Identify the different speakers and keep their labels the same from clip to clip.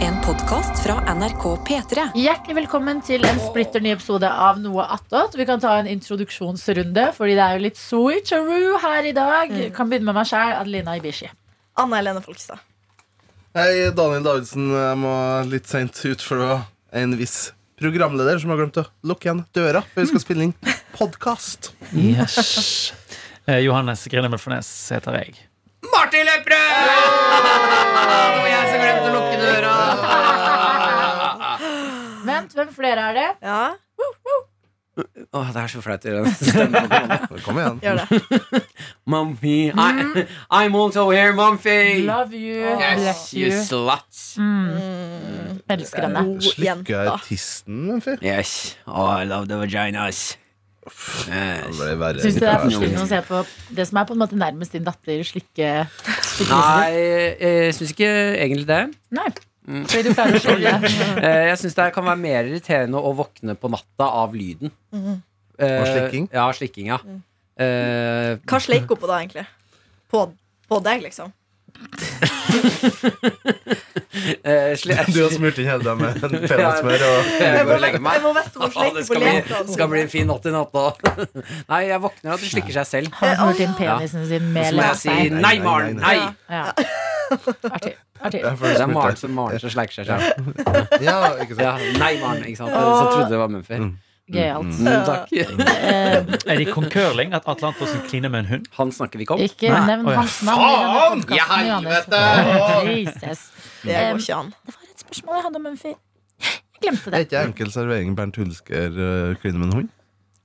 Speaker 1: En podkast fra NRK P3.
Speaker 2: Hjertelig velkommen til en splitter ny episode av Noe attåt. Vi kan ta en introduksjonsrunde, fordi det er jo litt switcheroo her i dag.
Speaker 3: Mm.
Speaker 2: Kan begynne med meg sjæl, Adelina Ibishi.
Speaker 4: Anna Helene Folkestad.
Speaker 5: Hei, Daniel Davidsen. Jeg må litt seint ut, for det var en viss programleder som har glemt å lukke igjen døra før vi skal spille inn podkast.
Speaker 6: Yes. Eh, Johannes Grinemel Fornes heter jeg.
Speaker 3: Martin Lepperød! Det var jeg som glemte å lukke døra.
Speaker 2: Vent, hvem flere er det?
Speaker 4: Ja,
Speaker 3: Åh, det er så flaut i den stemmen.
Speaker 5: Kom igjen.
Speaker 4: gjør det.
Speaker 3: Mumphy. I- I'm also here, Mumphy.
Speaker 2: Mm. Love you.
Speaker 3: Yes,
Speaker 2: Bless
Speaker 3: you
Speaker 2: you.
Speaker 3: sluts.
Speaker 4: Mm.
Speaker 2: Elsker henne.
Speaker 5: Slikker jeg tissen, en fyr?
Speaker 3: Yes. Oh, I love the vaginas.
Speaker 5: Det
Speaker 3: Yes.
Speaker 5: ble verre.
Speaker 2: Syns du det er for
Speaker 3: forstyrrende
Speaker 2: stille å se på det som er på en måte nærmest din datter slikke
Speaker 3: Nei, eh, jeg syns ikke egentlig det.
Speaker 2: Nei. Fordi du pleier å skille
Speaker 3: Eh, Jeg syns det kan være mer irriterende å våkne på natta av lyden.
Speaker 2: Mm.
Speaker 3: Eh,
Speaker 5: Og slikking?
Speaker 3: Ja, slikking, ja. Eh,
Speaker 4: Hva sleik hun på da, egentlig? På, på deg, liksom?
Speaker 3: eh, sli-
Speaker 5: Du har smurt inn hele deg med peanøttsmør og
Speaker 3: Jeg
Speaker 4: Jeg
Speaker 3: går
Speaker 4: må
Speaker 3: og legger
Speaker 4: vite
Speaker 3: meg.
Speaker 4: om hun
Speaker 3: Å, det
Speaker 4: sleiker på sånn.
Speaker 3: skal bli,
Speaker 4: lekene
Speaker 3: skal bli
Speaker 4: sine.
Speaker 3: en fin natt i natt, da. Nei, jeg våkner av at det slikker seg selv.
Speaker 2: Han har smurt inn penisen sin
Speaker 3: Og
Speaker 2: med
Speaker 3: så må jeg si
Speaker 2: leppestein.
Speaker 3: nei, Maren! Nei!
Speaker 4: Ja.
Speaker 2: Ja. Artig. Artig.
Speaker 5: Jeg får
Speaker 3: Det er
Speaker 5: smurt
Speaker 3: Maren
Speaker 5: deg.
Speaker 3: som Maren som sleiker seg selv.
Speaker 5: Ja, ikke sant?
Speaker 3: Ja, nei, Maren, ikke sant. Så trodde det var Mumphy.
Speaker 5: Mm.
Speaker 2: Gøyalt.
Speaker 3: Mm, takk.
Speaker 2: Eh,
Speaker 6: Er det i Kong Curling at Atle Antonsen kliner med en hund?
Speaker 3: Han snakker vi ikke om.
Speaker 2: ikke nevn
Speaker 6: Å, ja.
Speaker 2: hans navn i denne
Speaker 5: Faen!
Speaker 2: podkasten,
Speaker 5: Ja,
Speaker 2: Johannes.
Speaker 5: helvete!
Speaker 2: Jesus.
Speaker 4: Det går ikke an.
Speaker 2: Det var et spørsmål jeg hadde om en fyr. Jeg glemte
Speaker 5: Det
Speaker 2: det.
Speaker 5: er ikke enkel servering Bernt Hulsker øh, kline med en hund.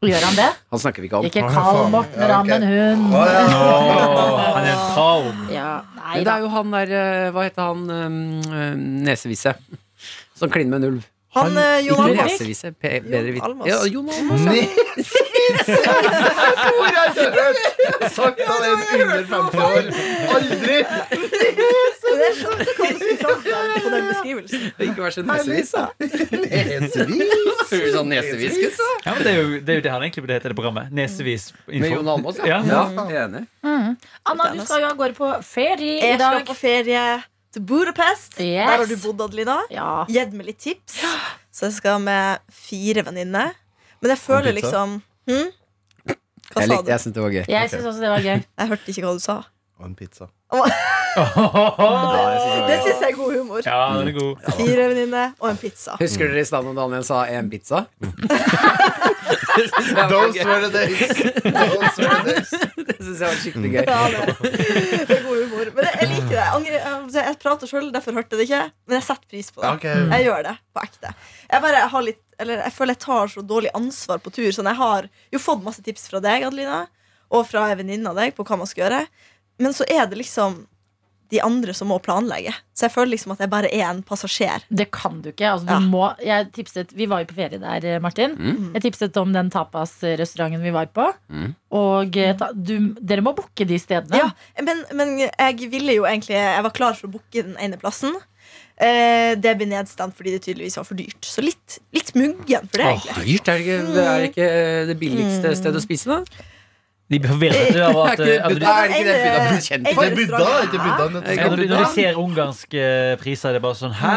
Speaker 2: Gjør han det?
Speaker 3: Han snakker vi ikke om.
Speaker 2: Ikke
Speaker 5: Å,
Speaker 2: kall
Speaker 5: faen.
Speaker 2: Morten
Speaker 5: Ja, ok.
Speaker 2: Ramm en hund.
Speaker 6: han er en traum.
Speaker 2: Ja, nei
Speaker 3: Men det
Speaker 2: da.
Speaker 3: er jo han der eh, Hva heter han um, um, nesevisse? Som kliner med en ulv.
Speaker 4: Han, eh, Jon
Speaker 3: Ikke
Speaker 4: Almaas.
Speaker 3: nesevisse. Pe bedre vit.
Speaker 4: Almaas.
Speaker 3: Ja, Jon Almaas.
Speaker 5: Nei! Hvor har jeg hørt sagt av en under 50 år? Aldri!
Speaker 4: Det er sånn det kom så fram til på den beskrivelsen.
Speaker 3: Ikke vær så nesevis, da.
Speaker 5: Nesvis.
Speaker 3: Hører du sånn nesehviskes?
Speaker 6: Ja, men det, er jo, det er jo det han egentlig burde hete, det programmet. Nesevis
Speaker 3: Med
Speaker 6: info.
Speaker 3: Jon Almaas,
Speaker 6: Ja.
Speaker 3: ja. ja enig.
Speaker 2: Mm. Anna, du skal jo av gårde på ferie i
Speaker 4: Jeg skal
Speaker 2: dag.
Speaker 4: på ferie til Budapest.
Speaker 2: Yes.
Speaker 4: Der har du bodd, Adelina.
Speaker 2: Ja.
Speaker 4: Gitt meg litt tips. Så jeg skal med fire venninner. Men jeg føler
Speaker 5: pizza?
Speaker 4: liksom hm? Hva
Speaker 3: Jeg,
Speaker 4: sa
Speaker 3: likte-
Speaker 4: du?
Speaker 3: jeg syns det var gøy.
Speaker 2: Jeg syns også det var gøy.
Speaker 4: Jeg hørte ikke hva du sa.
Speaker 5: Og en pizza.
Speaker 4: Det syns jeg er god humor.
Speaker 6: Ja, den er god.
Speaker 4: Fire venninner og en pizza.
Speaker 3: Husker dere i stad når Daniel sa én pizza? det syns jeg, var
Speaker 5: Those
Speaker 3: gøy.
Speaker 5: were the days. Those were the days.
Speaker 3: Det synes jeg var skikkelig gøy.
Speaker 4: Mm. Ja, det, det er god humor. Men jeg, jeg liker det. Jeg, angrer, jeg, jeg prater sjøl, derfor hørte jeg det ikke. Men jeg setter pris på det.
Speaker 5: Ok.
Speaker 4: Jeg gjør det på ekte. Jeg, bare har litt, eller, jeg føler jeg tar så dårlig ansvar på tur. Sånn, jeg har jo fått masse tips fra deg, Adelina, og fra ei venninne av deg på hva man skal gjøre. Men så er det liksom de andre som må planlegge. Så jeg føler liksom at jeg bare er en passasjer.
Speaker 2: Det kan du ikke. Altså, du
Speaker 4: Ja.
Speaker 2: må, jeg tipset, vi var jo på ferie der, eh, Martin.
Speaker 5: Mm.
Speaker 2: Jeg tipset om den tapasrestauranten vi var på. Og eh, ta, du, dere må booke de stedene.
Speaker 4: Ja, men, men jeg ville jo egentlig Jeg var klar for å booke den ene plassen. Eh, det ble nedstemt fordi det tydeligvis var for dyrt. Så litt, litt muggen for det,
Speaker 3: Åh,
Speaker 4: egentlig.
Speaker 3: dyrt er det ikke Det er ikke eh, det billigste stedet å spise, da?
Speaker 6: De blir forvirret av at, eh,
Speaker 3: Er ikke
Speaker 6: at du,
Speaker 3: Buddha- er det ikke
Speaker 4: Sånn
Speaker 3: det Buddha blir kjent
Speaker 4: Jeg-
Speaker 3: for?
Speaker 5: Det er Buddha, det er ikke Buddha. han
Speaker 3: Jeg
Speaker 5: heter.
Speaker 6: ja,
Speaker 3: kan
Speaker 6: når, du, når du ser ungarske priser, det er bare sånn Hæ?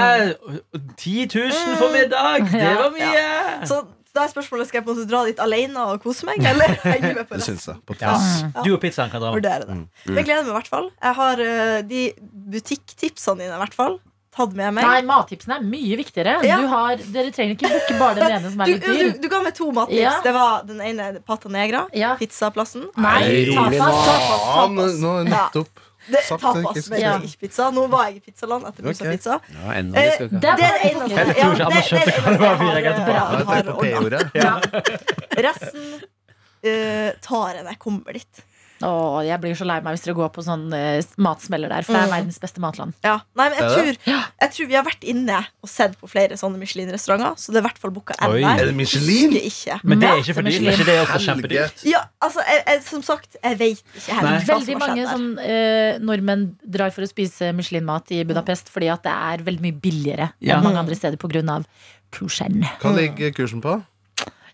Speaker 6: 10 000 for middag? Det var mye!
Speaker 4: Så da er spørsmålet skal jeg på en måte dra dit alene og kose meg, eller henge med på
Speaker 5: Det
Speaker 4: resten.
Speaker 5: syns jeg. På
Speaker 6: Ja.
Speaker 5: plass.
Speaker 6: Du og pizzaen kan dra.
Speaker 4: Vurdere det. Men jeg gleder meg i hvert fall. Jeg har eh, de butikktipsene dine i hvert fall tatt med meg.
Speaker 2: Nei, mattipsene er mye viktigere.
Speaker 4: Ja.
Speaker 2: Du har, dere trenger ikke booke bare den ene som
Speaker 4: Du,
Speaker 2: er litt dyr.
Speaker 4: du, du ga meg to mattips.
Speaker 2: Ja.
Speaker 4: Det var den ene Pata Negra.
Speaker 2: Ja.
Speaker 4: Pizzaplassen.
Speaker 2: Nei,
Speaker 3: Nei, rolig
Speaker 2: tapas.
Speaker 4: Tapas,
Speaker 5: Ja, nå
Speaker 4: tapas.
Speaker 5: nå er det nettopp.
Speaker 4: Det,
Speaker 5: Saft,
Speaker 4: tapas
Speaker 5: ikke
Speaker 4: med
Speaker 2: sant?
Speaker 4: ikke pizza. Nå var jeg i pizzaland etter
Speaker 5: Ok.
Speaker 4: pizza pizza.
Speaker 3: Ja, enda
Speaker 4: Eh,
Speaker 3: det skal vi ikke
Speaker 2: Det
Speaker 3: ha.
Speaker 2: er
Speaker 4: Det er
Speaker 2: bare
Speaker 4: det eneste
Speaker 2: booking.
Speaker 4: ja,
Speaker 6: Jeg tror ikke alle
Speaker 4: det- det er
Speaker 6: skjønte hva det
Speaker 4: eneste
Speaker 6: var vi legget
Speaker 4: har-
Speaker 6: på.
Speaker 4: har-
Speaker 5: Ja,
Speaker 4: har
Speaker 5: jeg tenker på
Speaker 4: ordnet.
Speaker 2: Ja.
Speaker 5: P-ordet.
Speaker 4: Resten eh, tar jeg når jeg kommer dit.
Speaker 2: Åh, jeg blir så lei meg hvis dere går på sånn eh, matsmeller der, for det er
Speaker 4: Mm.
Speaker 2: verdens beste matland.
Speaker 4: Ja. Nei, men jeg
Speaker 5: Er det?
Speaker 4: tror, jeg tror vi har vært inne og sett på flere sånne Michelin-restauranter, så det er i hvert fall booka en
Speaker 6: Oi.
Speaker 5: Er
Speaker 4: der.
Speaker 5: det Michelin?
Speaker 4: Husker ikke.
Speaker 6: Men det er ikke for dyrt.
Speaker 2: Masse
Speaker 6: Er ikke det også
Speaker 5: Helge.
Speaker 6: kjempedyrt?
Speaker 4: Ja, altså, jeg, jeg, som sagt, jeg vet ikke
Speaker 6: Nei.
Speaker 4: helt hva
Speaker 2: Veldig
Speaker 4: som har
Speaker 2: mange
Speaker 4: skjedd der.
Speaker 2: sånn, eh, nordmenn drar for å spise Michelin-mat i Budapest fordi at det er veldig mye billigere
Speaker 6: Ja.
Speaker 2: enn mange andre steder pga. kursen.
Speaker 5: Hva ligger kursen på?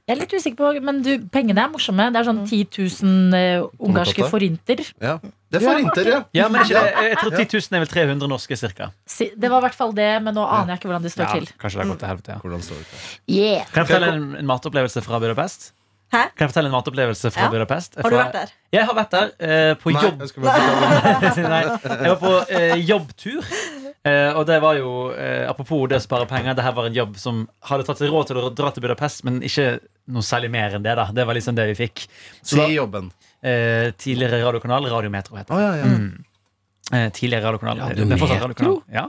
Speaker 2: Jeg er litt usikker på, men du, pengene er morsomme. Det er
Speaker 4: Mm.
Speaker 2: sånn 10 000 eh, ungarske
Speaker 5: Tomater.
Speaker 2: forinter.
Speaker 5: Ja. Det får inter, ja.
Speaker 6: Ja, men ikke, det- jeg tror 10 000 er vel 300 norske, cirka.
Speaker 2: Si- Det var i hvert fall det, men nå aner jeg ikke hvordan det står til.
Speaker 6: kanskje det
Speaker 4: Mm.
Speaker 6: har gått til helvete, ja.
Speaker 5: Hvordan står det til?
Speaker 2: Yeah.
Speaker 6: Kan jeg fortelle en, en matopplevelse fra Budapest?
Speaker 4: Hæ?
Speaker 6: Kan jeg fortelle en matopplevelse fra
Speaker 4: Ja.
Speaker 6: Budapest?
Speaker 4: Har du vært der?
Speaker 6: Jeg har vært der eh, på
Speaker 5: Nei,
Speaker 6: jobb.
Speaker 5: jeg skal bare fortelle om det.
Speaker 6: Nei, jeg var på eh, jobbtur. Eh, og det var jo, eh, apropos det å spare penger, det her var en jobb som hadde tatt seg råd til å dra til Budapest, men ikke noe særlig mer enn det. da Det var liksom det vi fikk.
Speaker 5: Si jobben.
Speaker 6: Eh, tidligere radiokanal, Radiometro heter det.
Speaker 5: Å ja, ja.
Speaker 6: Eh, tidligere radiokanal.
Speaker 7: Radiometro?
Speaker 6: Det er fortsatt radiokanal. Ja.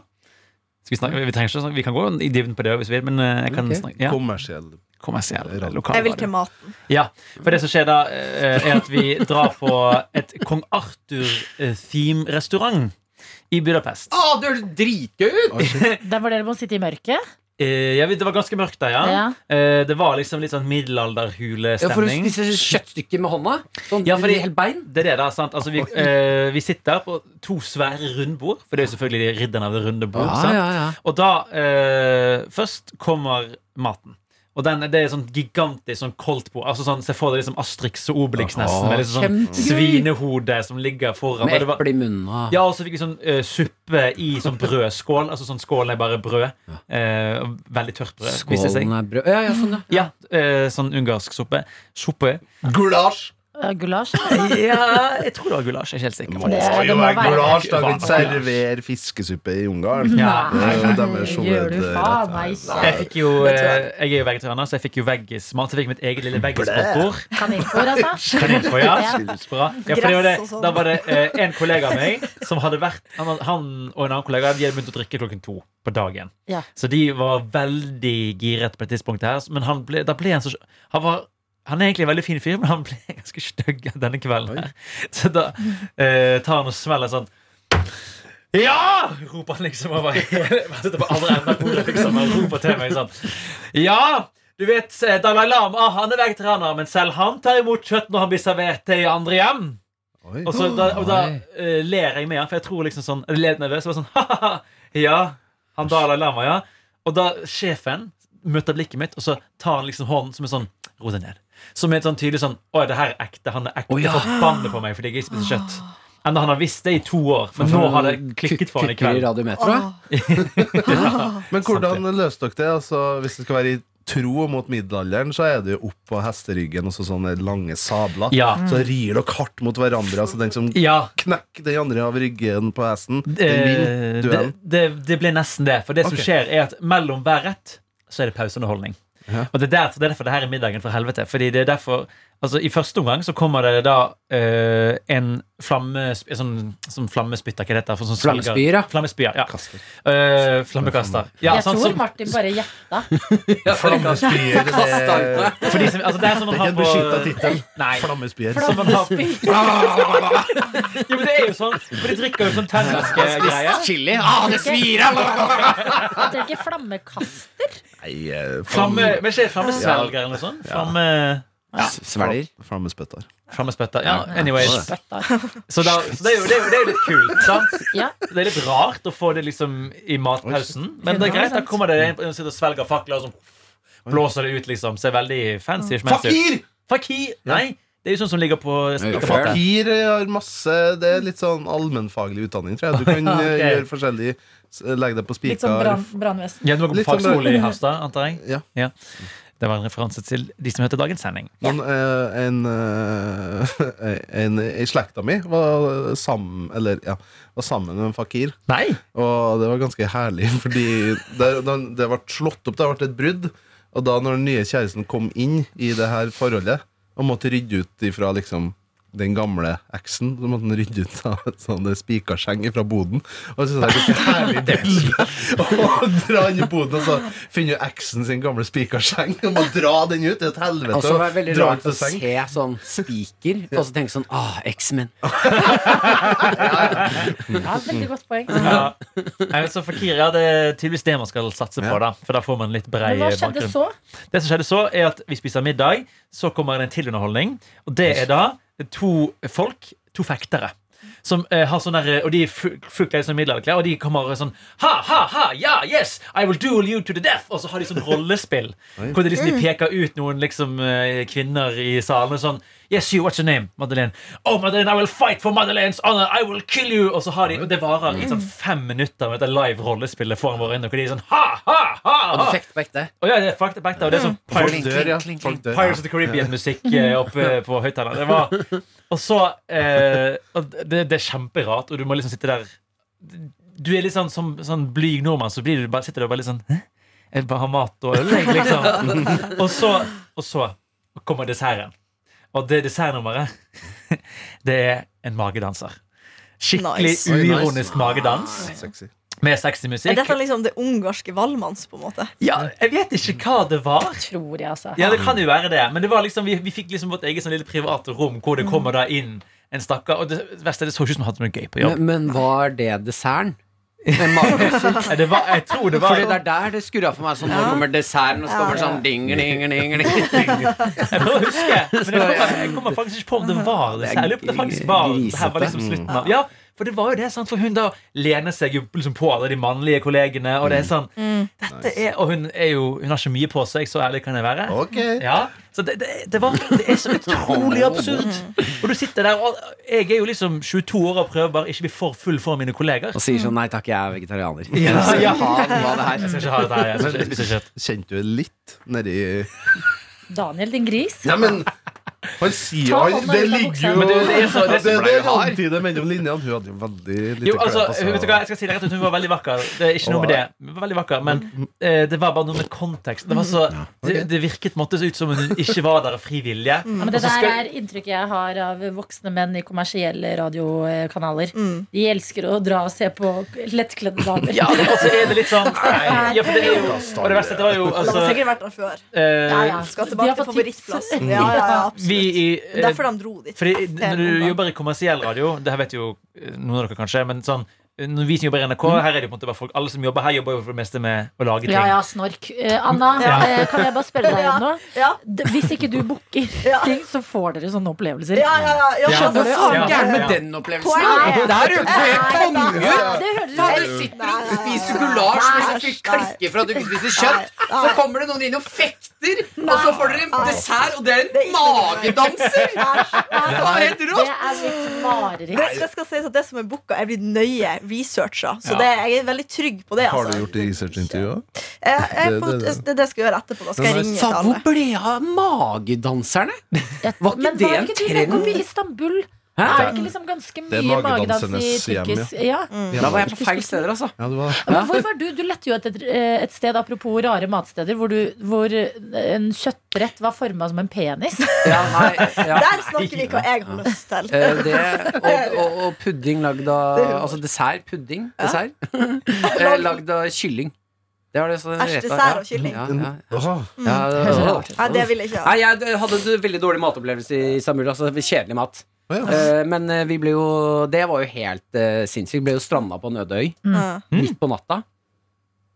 Speaker 6: Skal vi, snakke? Vi, trenger ikke å snakke. vi kan gå i dybden på det hvis vi vil, men eh, jeg kan
Speaker 7: Ok.
Speaker 6: snakke ja.
Speaker 5: Kommersiell.
Speaker 6: kommersiell eh,
Speaker 4: Jeg vil
Speaker 6: lokalradio.
Speaker 4: til maten.
Speaker 6: Ja, for det som skjer da, eh, er at vi drar på et Kong Arthur-theme-restaurant i Budapest.
Speaker 7: Å, du er dritgøy!
Speaker 2: Der hvor dere må sitte i mørket.
Speaker 6: Eh, ja, vi- det var ganske mørkt der, ja.
Speaker 2: Ja.
Speaker 6: Eh, det var liksom litt sånn
Speaker 7: Ja, for å
Speaker 6: middelalderhulestemning.
Speaker 7: spise kjøttstykker med hånda? Sånn
Speaker 6: Ja, fordi-
Speaker 7: helt bein?
Speaker 6: Det er det, da. sant? Altså, vi, eh, vi sitter på to svære rundbord, for det er jo selvfølgelig ridderne av det runde bord.
Speaker 7: Ah,
Speaker 6: sant? Og da eh, Først kommer maten. Og den, det er sånn gigantisk sånn koldtbord. Altså sånn, Se for deg liksom Astrix og Obelix nesten. Med liksom sånn
Speaker 7: kjempegøy!
Speaker 6: svinehode som ligger foran.
Speaker 7: Med
Speaker 6: Og det var-
Speaker 7: eple i munnen og
Speaker 6: Ja, og så fikk vi sånn eh, suppe i sånn brødskål. Altså sånn skålen er bare brød. Eh, veldig tørt brød. viste det seg.
Speaker 7: Skålen er brød Ja, ja, sånn, ja.
Speaker 6: Ja, eh, sånn ungarsk suppe. Suppe.
Speaker 5: Gulasj!
Speaker 2: Eh, Gulasj.
Speaker 6: Ja, jeg tror det var gulasj. Jeg er ikke helt sikker.
Speaker 5: Det
Speaker 2: må
Speaker 5: må
Speaker 2: jo
Speaker 5: jo være
Speaker 2: være
Speaker 5: gulasj. Da kan
Speaker 6: gulasj.
Speaker 5: ikke servere fiskesuppe i Ungarn.
Speaker 6: Ja.
Speaker 5: Det er jo deres
Speaker 2: Gjør du faen meg
Speaker 5: hovedrett.
Speaker 2: ikke?
Speaker 6: Jeg fikk jo,
Speaker 4: Det tror jeg.
Speaker 6: eh, jeg er jo vegetarianer, så jeg fikk jo veggismat. Jeg fikk mitt eget lille veggispotbord.
Speaker 2: Kaninfôr, altså.
Speaker 6: Kaninfor, ja.
Speaker 2: Ja.
Speaker 6: Bra. ja for det var
Speaker 4: Gress
Speaker 6: det,
Speaker 4: og sånn.
Speaker 6: da var det eh, en kollega av meg som hadde vært Han, han og en annen kollega De hadde begynt å drikke klokken to på dagen.
Speaker 2: Ja.
Speaker 6: Så de var veldig giret på det tidspunktet her. Men han ble, da ble han så han, var, han er egentlig en veldig fin fyr, men han ble ganske stygg denne kvelden. her Så da eh, tar han og smeller sånn ja! roper han liksom over hele Han sitter på andre enden av bordet liksom, og roper til meg sånn. Ja! Du vet, eh, Dalai Lama han er vegetarianer, men selv han tar imot kjøtt når han blir servert det i andre hjem.
Speaker 5: Oi.
Speaker 6: Og, så, da, og da eh, ler jeg med han, for jeg tror liksom sånn Jeg ler nervøs. Og var sånn, «Hahaha, ja, han Dalai Lama, ja. Og da sjefen møter blikket mitt, og så tar han liksom hånden som er sånn Ro deg ned. Som er et sånn tydelig sånn Å, det her er ekte. Han er ekte
Speaker 7: Å, ja.
Speaker 6: forbannet på meg fordi jeg ikke spiser kjøtt. Enda han har visst det i to år, men nå har det klikket for han
Speaker 7: Sånn
Speaker 6: i
Speaker 7: Kukker
Speaker 6: kveld.
Speaker 7: radiometro, ja.
Speaker 5: Men hvordan løste dere det? Altså, hvis det skal være i tro mot middelalderen, så er det jo opp på hesteryggen og så sånne lange sabler.
Speaker 6: Ja.
Speaker 2: Mm.
Speaker 5: Så rir dere hardt mot hverandre. Altså den som
Speaker 6: Ja,
Speaker 5: knekker den andre av ryggen på hesten, den
Speaker 6: Eh,
Speaker 5: vinner
Speaker 6: det,
Speaker 5: duellen.
Speaker 6: det, det blir nesten det. For det som
Speaker 5: Ok.
Speaker 6: skjer, er at mellom hver rett så er det pauseunderholdning.
Speaker 5: Ja.
Speaker 6: Og det er, derfor, det er derfor det her er middagen fra helvete. Fordi det er derfor Altså I første omgang så kommer det da eh, en flamme en sånn, sånn flammespytter, hva det heter for sånn svelger-
Speaker 7: Flammespyer, ja.
Speaker 6: Flammespyer, ja.
Speaker 5: Kaster.
Speaker 6: Eh, flammekaster. Ja,
Speaker 2: Jeg
Speaker 6: sånn
Speaker 2: tror
Speaker 6: som-
Speaker 2: Martin bare gjetta.
Speaker 5: Flammespyer. Det er
Speaker 6: for de som, altså, det er sånn man
Speaker 5: ikke
Speaker 6: har
Speaker 5: en
Speaker 6: på
Speaker 5: beskytta tittel.
Speaker 6: Nei.
Speaker 5: Flammespyer.
Speaker 6: Som man har Jo, men det er jo sånn, for de drikker jo sånn tenniskegreier.
Speaker 7: Chili? Ah, det svir!
Speaker 2: At det ikke er flammekaster.
Speaker 5: Nei, eh,
Speaker 6: Flamme,
Speaker 5: flamme...
Speaker 6: men ikke flammesvelger eller noe sånt? Flamme...
Speaker 7: Svelger.
Speaker 5: Flammespytter.
Speaker 6: Flammespytter. Ja, anyways.
Speaker 2: Spytta.
Speaker 6: Så, da, så det, er jo, det, er jo, det er jo litt kult, sant?
Speaker 2: Ja.
Speaker 6: Det er litt rart å få det liksom i matpausen. Men det er greit, da kommer det en som sitter og svelger fakler og sånn, blåser det ut, liksom. Ser veldig fancy ut.
Speaker 5: Fakir!
Speaker 6: Fakir! Nei, det er jo sånn som ligger på
Speaker 7: Ja,
Speaker 6: spikerfatet.
Speaker 5: Fakir eh, har masse Det er litt sånn allmennfaglig utdanning, tror jeg. Du kan eh,
Speaker 6: Ok.
Speaker 5: gjøre forskjellig s- Legge deg på
Speaker 2: Litt sånn
Speaker 5: spiker.
Speaker 2: brann- brannvesen.
Speaker 6: Ja, du må gå
Speaker 5: Litt
Speaker 6: på
Speaker 5: sånn
Speaker 6: fagskole i Harstad, antar jeg.
Speaker 5: Ja.
Speaker 6: Det var en referanse til de som hørte dagens sending.
Speaker 5: Noen, eh, en, eh, en i slekta mi var sammen, eller, ja, var sammen med en fakir,
Speaker 6: Nei!
Speaker 5: og det var ganske herlig, fordi det, det- det ble slått opp, det ble et brudd, og da når den nye kjæresten kom inn i det her forholdet, og måtte rydde ut ifra liksom den gamle eksen, så måtte han rydde ut av et sånt spikerseng fra boden, og så er det et herlig bilde, og dra inn i boden, og så finner jo eksen sin gamle spikerseng, og må dra den ut, det er et helvete,
Speaker 6: Altså,
Speaker 3: Altså,
Speaker 7: Og så var det veldig
Speaker 5: dra ut
Speaker 7: rart å
Speaker 5: til seng.
Speaker 7: se sånn spiker, og så tenke sånn Ah, X-Men.
Speaker 2: Ja, veldig godt poeng.
Speaker 6: Ja. Nei, men Så fakir, ja, det er tydeligvis det man skal satse på, da. For da får man litt brei
Speaker 2: Men hva skjedde
Speaker 6: bakgrunn.
Speaker 2: så?
Speaker 6: Det som skjedde så, er at vi spiser middag, så kommer det en til underholdning, og det er da to folk, to fektere. Som eh, har sånn der, eh, Og de er fu- fullt kledd som middelalderklær, og de kommer sånn Ha, ha, ha, ja, yes, I will duel you to the death! Og så har de sånn rollespill hvor det liksom de peker ut noen liksom eh, kvinner i salen. og Sånn Yes, you, what's your name? Madeleine. Oh, Madeleine, I will fight for Madeleine's honor! I will kill you! Og så har de, og det varer i sånn fem minutter med dette live rollespillet foran våre øyne, hvor de er sånn ha, ha, ha!
Speaker 3: Og du
Speaker 6: ha.
Speaker 3: fikk på ekte.
Speaker 6: Og ja, det er fakta, fakta, og det er sånn
Speaker 4: Mm.
Speaker 5: Folk
Speaker 6: Pirates,
Speaker 5: dør, ja.
Speaker 3: kling, kling,
Speaker 5: Folk dør.
Speaker 6: Pirates of the Caribbean-musikk eh, oppe på høyttaleren. Det var- Og så eh, og det, det er kjemperart, og du må liksom sitte der Du er litt sånn som sånn blyg nordmann, så blir du bare, sitter du bare litt sånn Hæ? Jeg bare har mat og øl, jeg, liksom. Og så, og så kommer desserten. Og det dessertnummeret, det er en magedanser. Skikkelig
Speaker 4: Nice.
Speaker 5: Oi, nice.
Speaker 6: uironisk magedans
Speaker 5: Sexy.
Speaker 6: med sexy
Speaker 4: Er
Speaker 6: musikk.
Speaker 4: dette liksom det ungarske valmanns, på en måte?
Speaker 6: Ja, jeg vet ikke hva det var.
Speaker 2: Tror jeg, altså.
Speaker 3: Ah.
Speaker 6: Ja, det kan jo være det. Men det var liksom, vi, vi fikk liksom vårt eget sånn lille private rom hvor det
Speaker 3: Mm.
Speaker 6: kommer da inn en stakkar. Og det verste er det så ikke ut som han hadde noe gøy på jobb.
Speaker 3: Men, men var det desserten? Med magedansen?
Speaker 6: Nei, Det var, jeg tror det var
Speaker 3: Fordi det er der det skurra for meg. Sånn, nå kommer desserten, og så kommer det sånn ding, ding, ding, ding.
Speaker 6: Jeg prøver å huske, men jeg kommer, jeg kommer faktisk ikke på om det var det. Jeg lurer på om det faktisk var det her var liksom slutten av Ja, for det var jo det, sant? for hun da lener seg jo liksom på alle de mannlige kollegene, og
Speaker 3: Mm.
Speaker 6: det er sånn Dette er, Og hun er jo Hun har ikke mye på seg, så ærlig kan jeg være.
Speaker 5: Ok.
Speaker 6: Ja, så det, det, det, var, det er så utrolig absurd. Og du sitter der, og jeg er jo liksom 22 år og prøver bare ikke bli for full for mine kolleger.
Speaker 3: Og sier sånn nei takk, jeg er vegetarianer.
Speaker 6: Ja, ja.
Speaker 3: Ha noe av det
Speaker 6: Jeg skal
Speaker 3: her.
Speaker 6: ikke ha dette her. Jeg skal ikke spise kjøtt.
Speaker 5: Kjente du litt nedi
Speaker 2: Daniel, din gris.
Speaker 5: Nei, men han sier
Speaker 2: Ta
Speaker 5: han,
Speaker 2: hånda
Speaker 5: Det
Speaker 2: ut av buksa.
Speaker 5: ligger jo
Speaker 6: Men det er jo det som- det
Speaker 5: Det
Speaker 6: som
Speaker 5: det
Speaker 3: ble
Speaker 5: er
Speaker 3: hard.
Speaker 5: antydet mellom linjene. Hun hadde jo veldig lite
Speaker 6: Jo, altså,
Speaker 5: klær på
Speaker 6: vet du hva, jeg skal si det rett ut, Hun var veldig vakker. Det er ikke noe med det. Hun var veldig vakker, Men eh, det var bare noe med kontekst. Det, var så, det, det virket på en måte ut som hun ikke var der av fri vilje.
Speaker 2: Ja, men det der er inntrykket jeg har av voksne menn i kommersielle radiokanaler.
Speaker 4: Mm.
Speaker 2: De elsker å dra og se på lettkledde damer.
Speaker 6: Ja, og så er det litt sånn ja, for det er jo, Og det verste, det var jo
Speaker 4: De
Speaker 6: altså,
Speaker 4: har sikkert vært der før.
Speaker 2: Ja,
Speaker 6: eh,
Speaker 2: ja.
Speaker 4: Skal
Speaker 2: De
Speaker 4: tilbake
Speaker 2: har
Speaker 4: til
Speaker 2: fått tips.
Speaker 4: favorittplassen. Ja, ja, ja, absolutt.
Speaker 6: Vi i
Speaker 4: Det er
Speaker 6: eh,
Speaker 4: derfor de dro dit.
Speaker 6: Fordi
Speaker 4: Hele
Speaker 6: når du
Speaker 4: omgang.
Speaker 6: jobber i kommersiell radio Det her vet jo eh, noen av dere kanskje Men sånn, eh, når vi som jobber i NRK Her er det jo på en måte bare folk Alle som jobber her jobber jo for det meste med å lage ting
Speaker 2: Ja, ja, snork. Eh, Anna,
Speaker 6: Ja.
Speaker 2: eh, kan jeg bare spørre deg om noe?
Speaker 4: Ja.
Speaker 2: D- Hvis ikke du booker
Speaker 4: Ja.
Speaker 2: ting, så får dere sånne opplevelser.
Speaker 4: Ja, ja, ja. ja,
Speaker 6: Ja.
Speaker 3: Hva faen
Speaker 6: Ja.
Speaker 3: gærent med den opplevelsen? da? Det her høres jo helt konge ut!
Speaker 2: Det høres
Speaker 3: Da
Speaker 2: ut
Speaker 3: du sitter og spiser gulasj mens du fikk klikke for at du ikke spiser kjøtt. Så kommer det noen inn og fekter, og så får dere en dessert, og det er en magedanser! Det var helt
Speaker 2: Det
Speaker 3: rått!
Speaker 2: er litt
Speaker 4: Det,
Speaker 2: mareritt.
Speaker 4: det skal sies at det som er booka, er blitt nøye researcha. Så
Speaker 6: Ja.
Speaker 4: det, jeg er veldig trygg på det.
Speaker 5: seg. Har du
Speaker 4: Altså.
Speaker 5: gjort researchintervjuet?
Speaker 4: Jeg, jeg,
Speaker 5: Det-
Speaker 4: på-
Speaker 5: det- det-
Speaker 4: det, det skal jeg gjøre etterpå. Da skal jeg
Speaker 5: Men-
Speaker 4: ringe
Speaker 3: Sa,
Speaker 4: til
Speaker 3: hvor
Speaker 4: alle.
Speaker 3: ble det av magedanserne? Var ikke
Speaker 2: Men
Speaker 3: det
Speaker 2: var
Speaker 3: en
Speaker 2: ikke du
Speaker 3: trend?
Speaker 2: nettopp i Istanbul?
Speaker 3: Hæ?
Speaker 2: Er det ikke liksom ganske
Speaker 5: Det er
Speaker 2: mye magedans i
Speaker 5: magedansernes hjem,
Speaker 2: tyrkis? Ja.
Speaker 3: Da var jeg på feil steder, altså.
Speaker 5: Ja, det var
Speaker 2: Ja, Men hvor var du? Du lette jo etter et, et sted, apropos rare matsteder, hvor, du, hvor eh, en kjøttbrett var forma som en penis.
Speaker 3: Ja, nei, ja.
Speaker 4: Der snakker vi hva jeg har lyst til.
Speaker 3: Eh, Det, og, og, og pudding lagd av Altså dessert. Pudding. Dessert. Eh, Lagd av kylling. Det var det sånn
Speaker 4: Æsj, dessert av kylling.
Speaker 3: Ja, ja,
Speaker 5: Åh,
Speaker 3: ja.
Speaker 2: Høres
Speaker 3: ja,
Speaker 2: rart ut.
Speaker 4: Nei, det vil jeg ikke ha.
Speaker 3: Nei, jeg d- hadde en veldig dårlig matopplevelse i Istanbul. Altså kjedelig mat.
Speaker 5: å ja.
Speaker 3: Eh, Men eh, vi ble jo Det var jo helt eh, sinnssykt. Vi ble jo stranda på en øde øy
Speaker 4: Ja.
Speaker 3: midt på natta.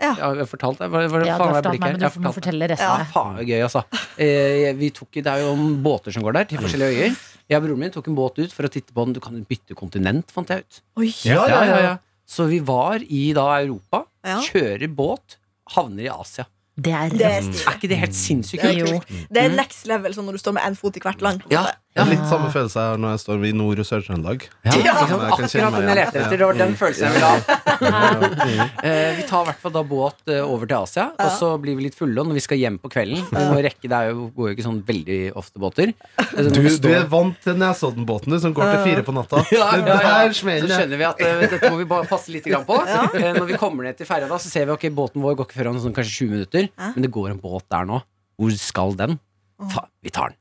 Speaker 4: Ja.
Speaker 3: Ja, jeg fortalte deg? Hva,
Speaker 2: Ja,
Speaker 3: hva,
Speaker 2: du
Speaker 3: faen
Speaker 2: har
Speaker 3: var det
Speaker 2: fortalt meg,
Speaker 3: blikket her?
Speaker 2: men
Speaker 3: Jeg
Speaker 2: du må
Speaker 3: fortalte-
Speaker 2: fortelle resten.
Speaker 3: Ja, faen det er gøy, altså. Eh, vi tok, det er jo båter som går der, til forskjellige øyer. Jeg og broren min tok en båt ut for å titte på den. Du kan bytte kontinent, fant jeg ut.
Speaker 4: Oi.
Speaker 6: Ja, ja, ja,
Speaker 3: Så vi var i da Europa,
Speaker 4: Ja.
Speaker 3: kjører båt, havner i Asia.
Speaker 2: Det er
Speaker 4: Det
Speaker 2: rått.
Speaker 4: er stilig.
Speaker 3: Er ikke det helt sinnssykt
Speaker 4: Det er
Speaker 3: kult?
Speaker 2: Jo.
Speaker 4: Det er next level sånn når du står med én fot i hvert land.
Speaker 3: Mm. Ja,
Speaker 5: Det er Litt samme følelse jeg har når jeg står i Nord- og Sør-Trøndelag.
Speaker 3: ja, ikke sant?
Speaker 5: Jeg kan kjenne
Speaker 3: akkurat
Speaker 5: meg
Speaker 3: den jeg
Speaker 5: igjen.
Speaker 3: lette etter. Det var den følelsen jeg ville ha.
Speaker 5: Ja.
Speaker 3: Eh, vi tar i hvert fall da båt eh, over til Asia, og så blir vi litt fulle. Og når vi skal hjem på kvelden Vi må rekke, Det er jo, går jo ikke sånn veldig ofte båter. Eh, så
Speaker 5: Du,
Speaker 3: når vi
Speaker 5: du
Speaker 3: står-
Speaker 5: er vant til Nesoddenbåten du, som går til fire på natta.
Speaker 3: Ja,
Speaker 5: Det
Speaker 3: ja, ja.
Speaker 5: der
Speaker 3: Så
Speaker 5: smeller.
Speaker 3: skjønner vi at eh, dette må vi bare passe litt grann på. Eh, Når vi kommer ned til ferja, da, så ser vi ok, båten vår går ikke før om sånn, kanskje 20 minutter.
Speaker 4: Ja.
Speaker 3: Men det går en båt der nå. Hvor skal den? Faen, vi tar den.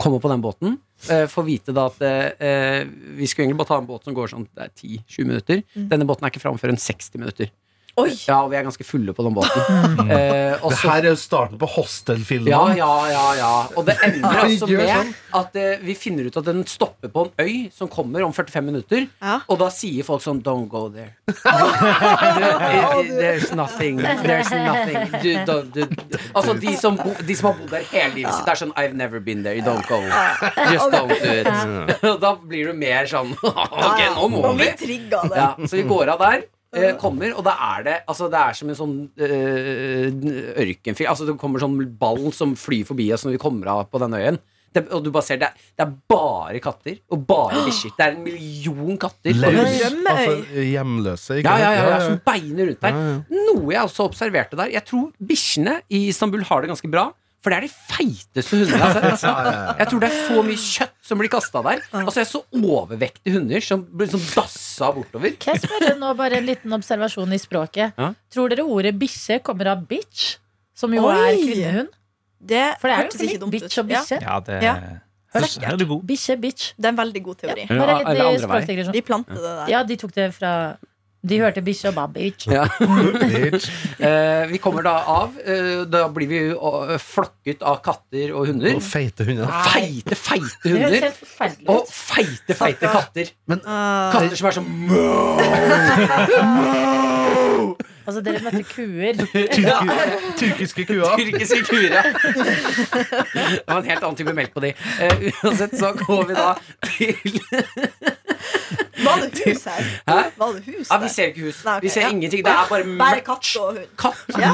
Speaker 3: Kommer på den båten. eh, Får vite da at eh, vi skulle egentlig bare ta en båt som går sånn det er 10-20 minutter. Denne båten er ikke fram før en 60 minutter.
Speaker 4: Mm. Oi.
Speaker 3: Ja, og vi er ganske fulle på den båten. Eh, og
Speaker 5: Det
Speaker 3: så-
Speaker 5: her er jo starten på hostelfilmen.
Speaker 3: ja, ja, ja, ja. Og det ender
Speaker 5: Ja, vi
Speaker 3: altså
Speaker 5: gjør
Speaker 3: med
Speaker 5: sånn.
Speaker 3: at eh, vi finner ut at den stopper på en øy som kommer om 45 minutter.
Speaker 4: Ja.
Speaker 3: Og da sier folk sånn Don't go there. Du, eh, There's nothing. There's nothing. Du, da, du, altså, de som, bo, de som har bodd der hele livet sitt, det er sånn I've never been there. You don't go. Just don't do it. Og da blir du mer sånn Ok, nå må
Speaker 4: Og
Speaker 3: vi.
Speaker 4: vi trigga det.
Speaker 3: Ja, så vi går av der. eh, kommer, og da er det altså det er som en sånn uh, ørkenfilm. Altså Det kommer sånn ball som flyr forbi oss når vi kommer av på den øyen. Det, og du bare ser, det, er- det er bare katter og bare bikkjer. Det er en million katter. på
Speaker 5: Løs.
Speaker 3: hus.
Speaker 4: Rømmeøy.
Speaker 5: Altså hjemløse, ikke
Speaker 3: Ja, ja, ja, ja,
Speaker 5: sant?
Speaker 3: som beiner rundt der.
Speaker 5: Ja, ja.
Speaker 3: Noe jeg også observerte der. Jeg tror bikkjene i Istanbul har det ganske bra. For det er de feiteste hundene jeg har sett. Jeg tror det er så mye kjøtt som blir kasta der. Altså Jeg så overvektige hunder som blir sånn dassa bortover.
Speaker 2: Kan jeg spørre nå bare en liten observasjon i språket?
Speaker 3: Ja.
Speaker 2: Tror dere ordet bikkje kommer av bitch? Som jo
Speaker 4: Oi.
Speaker 2: er kvinnehund?
Speaker 4: Det
Speaker 2: For det er
Speaker 4: hørtes
Speaker 2: jo
Speaker 4: ikke
Speaker 2: litt
Speaker 4: dumt
Speaker 2: bitch og
Speaker 4: ut. Ja,
Speaker 2: bikkje.
Speaker 6: Ja, det
Speaker 4: Ja.
Speaker 6: Høres- Her er du god.
Speaker 2: Bikkje, bitch.
Speaker 4: det er en veldig god teori.
Speaker 3: Ja,
Speaker 2: Bare litt
Speaker 3: eller
Speaker 2: eh,
Speaker 3: andre vei.
Speaker 2: språkdigresjon.
Speaker 4: De planter det der.
Speaker 2: Ja, de tok det fra De hørte bikkje og ba bitch.
Speaker 3: Ja.
Speaker 5: Bitch.
Speaker 3: Eh, vi kommer da av. eh, da blir vi jo, eh, flokket av katter og hunder.
Speaker 5: Og feite hunder.
Speaker 3: Feite, feite
Speaker 2: Det høres
Speaker 3: hunder.
Speaker 2: helt forferdelig
Speaker 3: Og
Speaker 2: ut.
Speaker 3: feite, feite katter.
Speaker 4: Ah,
Speaker 3: Katter som er sånn «Mø!»
Speaker 2: Altså, dere møtte kuer.
Speaker 5: Tyrkiske kuer.
Speaker 3: Tyrkiske kuer. ja. Det var en helt annen type melk på de. Eh, uansett så går vi da til
Speaker 4: var det hus her?
Speaker 3: Hæ?
Speaker 4: Var det hus
Speaker 3: Ja, vi
Speaker 4: der?
Speaker 3: ser ikke hus.
Speaker 4: Nei, ok,
Speaker 3: Vi ser
Speaker 4: ja.
Speaker 3: ingenting. Det er bare
Speaker 4: Bare
Speaker 3: mørkt.
Speaker 4: katt og hund.
Speaker 3: Katt
Speaker 4: Ja.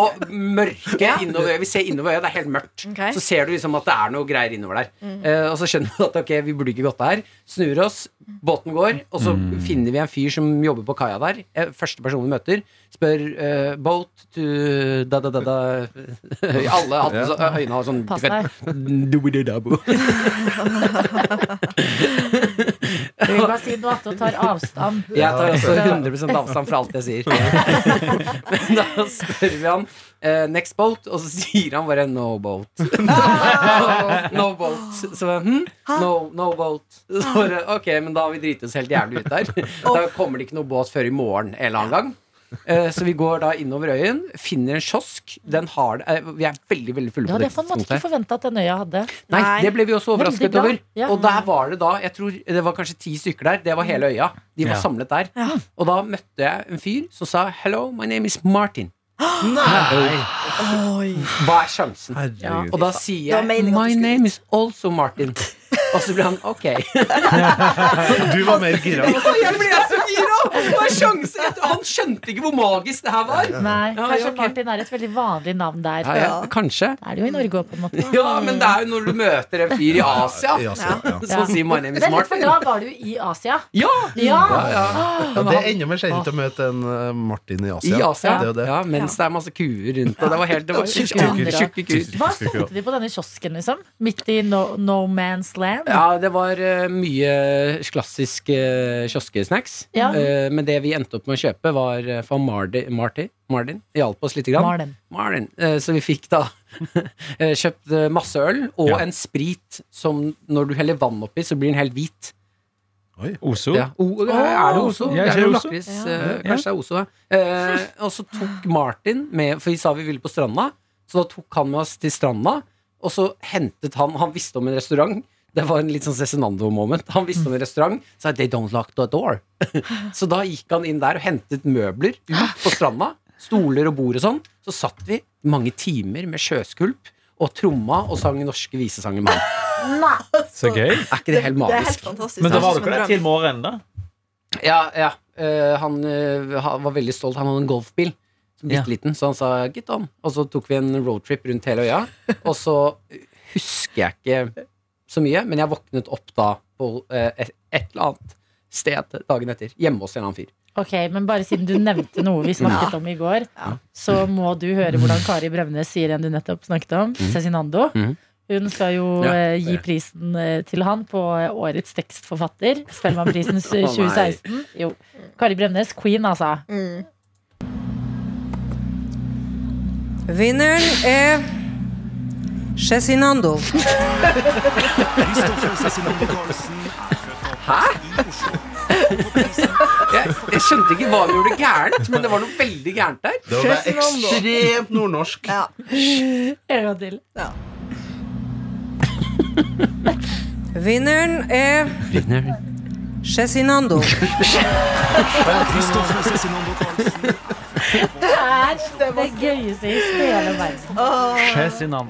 Speaker 3: og mørke innover øya. Vi ser innover øya, det er helt mørkt.
Speaker 4: Ok.
Speaker 3: Så ser du liksom at det er noe greier innover der. Eh, og så skjønner du at ok, vi burde ikke gått der. Snur oss, båten går, og så finner vi en fyr som jobber på kaia der. Eh, første person vi møter, spør eh, 'boat to da-da-da-da' Alle hadde så, øynene har sånn
Speaker 2: Pass deg.
Speaker 3: Du-du-du-du-du.
Speaker 2: Jeg vil bare si noe annet og tar avstand.
Speaker 3: Jeg tar også 100 avstand fra alt jeg sier. Men da spør vi han eh, 'next boat', og så sier han bare 'no boat'. no boat. Så hm? no, no boat. Så bare, ok, men da har vi driti oss helt jævlig ut der. Da kommer det ikke noe båt før i morgen en eller annen gang. Eh, Så vi går da innover øyen, finner en kiosk. Den har det eh, Vi er veldig veldig fulle
Speaker 2: Det
Speaker 3: på
Speaker 2: hadde
Speaker 3: det
Speaker 2: jeg på en måte
Speaker 3: tidspunktet.
Speaker 2: ikke forventa at den øya hadde.
Speaker 3: Nei,
Speaker 4: Nei.
Speaker 3: det ble vi også
Speaker 2: Veldig
Speaker 3: overrasket
Speaker 2: bra.
Speaker 3: over.
Speaker 2: Ja.
Speaker 3: Og der var det da Jeg tror det var kanskje ti stykker der. Det var hele øya. De var
Speaker 6: Ja.
Speaker 3: samlet der. Og da møtte jeg en fyr som sa 'Hello, my name is Martin'.
Speaker 4: Oi.
Speaker 3: Hva er sjansen?
Speaker 5: Herregud.
Speaker 3: Og da sier
Speaker 4: Det var
Speaker 3: jeg
Speaker 4: meningen at du
Speaker 3: 'My
Speaker 4: skulle-
Speaker 3: name is also Martin'. Og så ble han ok.
Speaker 5: Du var mer gira.
Speaker 3: Og så jeg ble så gira! Hva er sjansen? Jeg- Han skjønte ikke hvor magisk det her var.
Speaker 2: Nei,
Speaker 3: Ja, ja,
Speaker 2: Kanskje
Speaker 3: ok.
Speaker 2: Martin er et veldig vanlig navn der.
Speaker 3: Ja, ja, kanskje.
Speaker 2: Det er det jo i Norge òg, på en måte.
Speaker 3: Ja, men det er jo når du møter en fyr i Asia
Speaker 5: Ja, så, ja.
Speaker 3: som sier 'My name is
Speaker 2: Men for
Speaker 3: Martin'.
Speaker 2: da var du i Asia.
Speaker 3: Ja!
Speaker 2: Ja!
Speaker 5: Ja, det er enda mer sjeldent å møte en eh, Martin i
Speaker 3: I
Speaker 5: Asia.
Speaker 3: Asia.
Speaker 5: Det er jo det.
Speaker 3: Ja, mens det er masse kuer rundt. Og det var helt det var
Speaker 2: Tjukke
Speaker 3: tjukke
Speaker 2: kuer.
Speaker 3: tjukke kuer.
Speaker 2: Hva solgte de på denne kiosken, liksom? Midt i no, no man's land?
Speaker 3: Ja, det var eh, mye klassisk eh, kioskesnacks.
Speaker 2: Ja.
Speaker 3: Eh, men det vi endte opp med å kjøpe, var eh, fra Mardi, Marti. Martin hjalp oss lite grann.
Speaker 2: Marlin.
Speaker 3: Marlin. Eh, så vi fikk da eh, kjøpt eh, masse øl og
Speaker 6: Ja.
Speaker 3: en sprit som når du heller vann oppi, så blir den helt hvit.
Speaker 6: Oso.
Speaker 3: Ja. O, er det Oso?
Speaker 6: Ja,
Speaker 3: det
Speaker 6: jeg
Speaker 3: er jo
Speaker 6: ser Ozo.
Speaker 3: lakris. eh, Kanskje det er Oso, ja. Eh, og så tok Martin med For vi sa vi ville på stranda, så da tok han med oss til stranda. Og så hentet han Han visste om en restaurant. Det var en litt sånn Cezinando-moment. Han visste om en restaurant, sa they don't lock the door. så da gikk han inn der og hentet møbler ut på stranda. Stoler og bord og sånn. Så satt vi mange timer med sjøskulp og tromma og sang norske visesanger med han.
Speaker 6: Så gøy.
Speaker 3: Er ikke det helt
Speaker 4: Det er
Speaker 3: magisk?
Speaker 4: helt fantastisk.
Speaker 6: Men da
Speaker 4: Det
Speaker 6: var
Speaker 4: høres ut
Speaker 6: du
Speaker 4: som en
Speaker 6: ikke der
Speaker 4: drøm.
Speaker 6: til morgenen, da?
Speaker 3: Ja, ja. Eh, han, eh, han var veldig stolt. Han hadde en golfbil. Som
Speaker 6: Ja.
Speaker 3: bitte liten, Så han sa 'get on'. Og så tok vi en roadtrip rundt hele øya. Og så husker jeg ikke så mye, men jeg våknet opp da på eh, et, et eller annet sted dagen etter. Hjemme hos en annen fyr.
Speaker 2: Ok, men bare siden du nevnte noe vi snakket om i går, så må du høre hvordan Kari Bremnes sier en du nettopp snakket om, Cezinando.
Speaker 3: Mhm.
Speaker 2: Hun skal jo
Speaker 3: Ja.
Speaker 2: eh, gi prisen eh, til han på eh, årets tekstforfatter, Spellemannprisen s-
Speaker 3: Å, nei.
Speaker 2: 2016. Jo. Kari Bremnes, queen, altså.
Speaker 8: Vinneren er Cezinando.
Speaker 9: Kristoffer Cezinando Karlsen er født og oppvokst i Oslo.
Speaker 3: Jeg, jeg skjønte ikke hva vi gjorde gærent, men det var noe veldig gærent der.
Speaker 5: Det var bare ekstremt nordnorsk.
Speaker 4: Ja.
Speaker 2: En gang til.
Speaker 8: Vinneren er Cezinando.
Speaker 2: Det er det gøyeste i hele verden.
Speaker 6: Chesinando.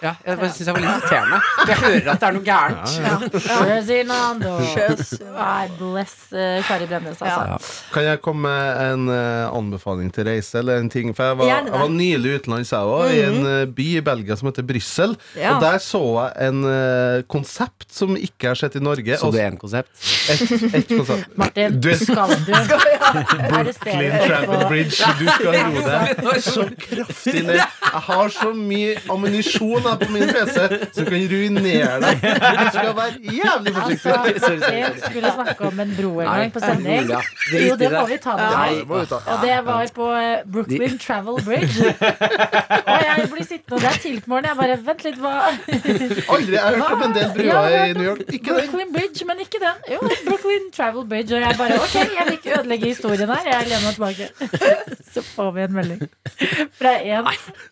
Speaker 3: Ja, jeg bare synes jeg var litt irriterende. Jeg hører at det er noe gærent.
Speaker 2: Ferdinando.
Speaker 4: Sjøsund.
Speaker 2: I Ah, bless eh, Kari Bremnes, altså.
Speaker 5: Kan jeg komme med en eh, anbefaling til reise? Eller en ting? For jeg var,
Speaker 4: Gjerne det.
Speaker 5: jeg var nylig utenlands, jeg òg, i en eh, by i Belgia som heter Brussel.
Speaker 4: Ja.
Speaker 5: Og der så jeg en eh, konsept som ikke er sett i Norge.
Speaker 3: Så
Speaker 5: og
Speaker 3: det er en konsept.
Speaker 5: et, et konsept.
Speaker 2: Martin,
Speaker 5: Du-
Speaker 2: skal du
Speaker 5: Clean
Speaker 2: arrestere deg
Speaker 5: Travel
Speaker 2: på
Speaker 5: Bridge, du skal roe deg så kraftig ned. Jeg har så mye ammunisjon her på min PC som kan ruinere deg. Du skal være jævlig
Speaker 2: Altså,
Speaker 5: forsiktig.
Speaker 2: vi skulle snakke om en bro en gang på sending.
Speaker 3: Julia, drit
Speaker 2: Jo,
Speaker 3: i
Speaker 2: det må vi ta med
Speaker 5: Ja,
Speaker 2: her.
Speaker 5: det må du ta.
Speaker 2: Og det var på eh, Brooklyn Travel Bridge. Og jeg blir sittende, og det er tidlig på morgenen. Jeg bare, vent litt, hva
Speaker 5: Aldri, jeg har hørt om en del
Speaker 2: Ja, jeg har
Speaker 5: bruer i
Speaker 2: hørt om
Speaker 5: New York. Ikke den.
Speaker 2: Brooklyn Bridge, men ikke den. Jo, Brooklyn Travel Bridge. Og jeg bare OK, jeg vil ikke ødelegge historien her. Jeg lener meg tilbake. Så får vi en melding fra en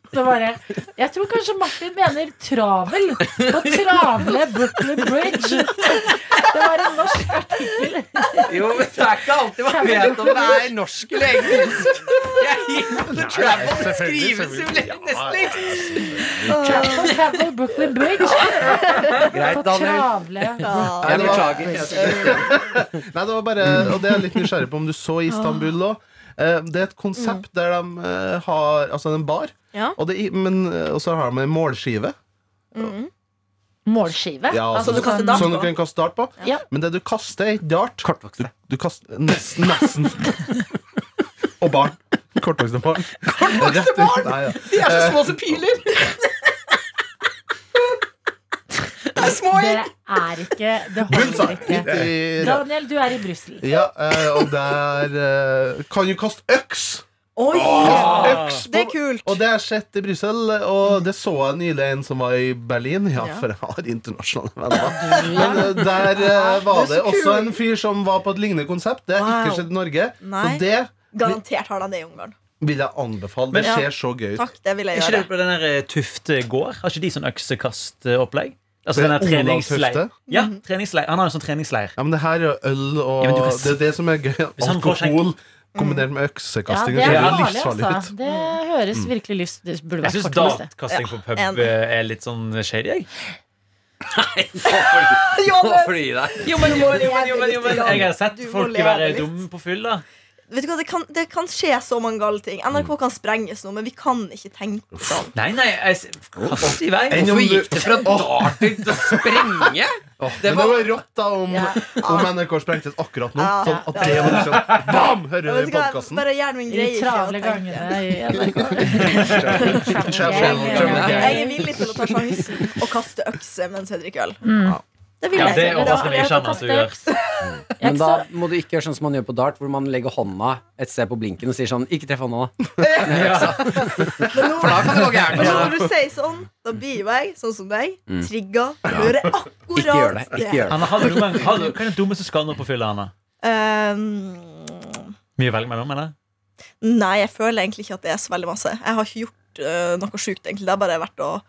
Speaker 2: som bare Jeg tror kanskje Martin mener travel. På travle Brooklyn Bridge. Det var en norsk artikkel.
Speaker 3: Jo, men det er ikke alltid man vet om det er norsk eller engelsk. Jeg er helt på travel. Det skrives jo nesten likt.
Speaker 2: På travel Brooklyn Bridge.
Speaker 3: Greit,
Speaker 2: På travle
Speaker 5: Nei,
Speaker 3: Jeg
Speaker 5: det var-
Speaker 3: beklager. Eh, Jeg skal-
Speaker 5: Nei, det var bare, og det er jeg litt nysgjerrig på om du så i Istanbul òg. Det er et konsept der de eh, har Altså en bar,
Speaker 4: Ja.
Speaker 5: og, det, i- men, eh, og så har de en målskive.
Speaker 2: Målskive.
Speaker 5: Ja,
Speaker 2: Altså,
Speaker 5: så du
Speaker 4: kaster
Speaker 2: sånn-
Speaker 4: dart
Speaker 5: Som du
Speaker 4: på.
Speaker 5: kan kaste dart på.
Speaker 2: Ja.
Speaker 5: Men det du kaster, er ikke dart.
Speaker 3: Kortvokste.
Speaker 5: Du, du kaster nesten. nesten. og barn. Kortvokste barn. Kortvokste barn! Nei, ja.
Speaker 7: De er så små som piler! Det er små
Speaker 2: Dere er ikke Det holder ikke.
Speaker 5: I-
Speaker 2: Daniel, du er i Brussel.
Speaker 5: ja, eh, og der eh, kan du kaste øks!
Speaker 4: Oi!
Speaker 5: Øks
Speaker 4: Ah. Det
Speaker 5: på
Speaker 4: er kult. Mm.
Speaker 5: Og det har jeg sett i Brussel, og det så jeg nylig en som var i Berlin. Ja,
Speaker 4: Ja. Ah,
Speaker 5: for jeg har internasjonale venner. Men eh, der eh, var
Speaker 4: Det er
Speaker 5: det
Speaker 4: så
Speaker 5: også
Speaker 4: kult.
Speaker 5: en fyr som var på et lignende konsept. Det har
Speaker 4: Wow.
Speaker 5: ikke skjedd i Norge. Så
Speaker 4: Nei.
Speaker 5: det
Speaker 4: Garantert har de det i Ungarn.
Speaker 5: vil jeg anbefale. Det
Speaker 6: Men-
Speaker 5: ser så gøy ut.
Speaker 4: Takk, det vil jeg
Speaker 6: Er ikke det
Speaker 4: gjøre.
Speaker 6: på den der eh, Tufte gård? Har ikke de sånn øksekastopplegg? Altså
Speaker 5: Det
Speaker 6: den der
Speaker 5: er Olav
Speaker 6: treningsleir.
Speaker 5: Tufte?
Speaker 6: Ja, treningsleir. Han har en sånn treningsleir.
Speaker 5: Ja, men det her er jo øl og
Speaker 6: Ja, men du kan
Speaker 5: Det er det som er gøy.
Speaker 6: han får seg-
Speaker 5: Alkohol kombinert med
Speaker 2: Ja,
Speaker 5: øksekasting.
Speaker 2: det
Speaker 5: det
Speaker 2: er
Speaker 5: ser
Speaker 2: farlig,
Speaker 5: livsfarlig
Speaker 2: altså.
Speaker 5: ut.
Speaker 2: Det høres virkelig lyst Det burde
Speaker 6: Jeg
Speaker 2: vært
Speaker 6: syns
Speaker 2: kortliste.
Speaker 6: datkasting på pub
Speaker 4: enig.
Speaker 6: eh, er litt sånn shady, jeg.
Speaker 3: Nå får du gi deg.
Speaker 6: Jo, men, jo, men, jo, men, jo, men, jo, men jeg har sett
Speaker 4: Du må
Speaker 6: folk
Speaker 4: leve
Speaker 6: være
Speaker 4: litt.
Speaker 6: dumme på fyll, da.
Speaker 4: Vet du hva, det kan, det kan skje så mange gale ting. NRK kan sprenges nå, men vi kan ikke tenke sånn.
Speaker 6: Nei, nei, jeg s- kast i vei.
Speaker 5: Enn om
Speaker 3: Hvorfor
Speaker 5: du-
Speaker 3: gikk det fra dart til å sprenge?
Speaker 5: Åh, men
Speaker 3: Det
Speaker 5: det
Speaker 3: var-
Speaker 5: var rått da om,
Speaker 2: Ja.
Speaker 5: om NRK sprengtes akkurat nå.
Speaker 4: Ja.
Speaker 5: Sånn at det var liksom Bam! Hører du
Speaker 4: Vet
Speaker 5: i
Speaker 4: du hva,
Speaker 5: podkasten?
Speaker 4: Bare gjør noen
Speaker 2: I de
Speaker 4: greier.
Speaker 2: travle
Speaker 4: ikke, og tenke.
Speaker 2: gangene i NRK.
Speaker 5: Travel-
Speaker 3: travel gang.
Speaker 4: Jeg er villig til å ta sjansen og kaste økse mens jeg drikker øl.
Speaker 2: Mm.
Speaker 4: Det vil
Speaker 6: Ja,
Speaker 4: jeg.
Speaker 6: det
Speaker 4: ikke.
Speaker 6: overrasker meg ikke annet at du gjør.
Speaker 3: Men da må du ikke gjøre sånn som man gjør på dart, hvor man legger hånda et sted på blinken og sier sånn Ikke treff hånda, da. For da
Speaker 4: Men
Speaker 3: kan det gå
Speaker 4: nå
Speaker 3: gærent.
Speaker 4: når
Speaker 3: Mm.
Speaker 4: du sier sånn, da blir jo jeg, sånn som deg, trigga. Hører akkurat
Speaker 3: Ikke gjør det. Ikke gjør det.
Speaker 6: Anna, har du noen gang, har du, hva er det dummeste skallen på fylla, Anna?
Speaker 4: Eh, Ehm,
Speaker 6: Mye å velge mellom, eller?
Speaker 4: nei, jeg føler egentlig ikke at det er så veldig masse. Jeg har ikke gjort øh, noe sjukt, egentlig. Det har bare vært å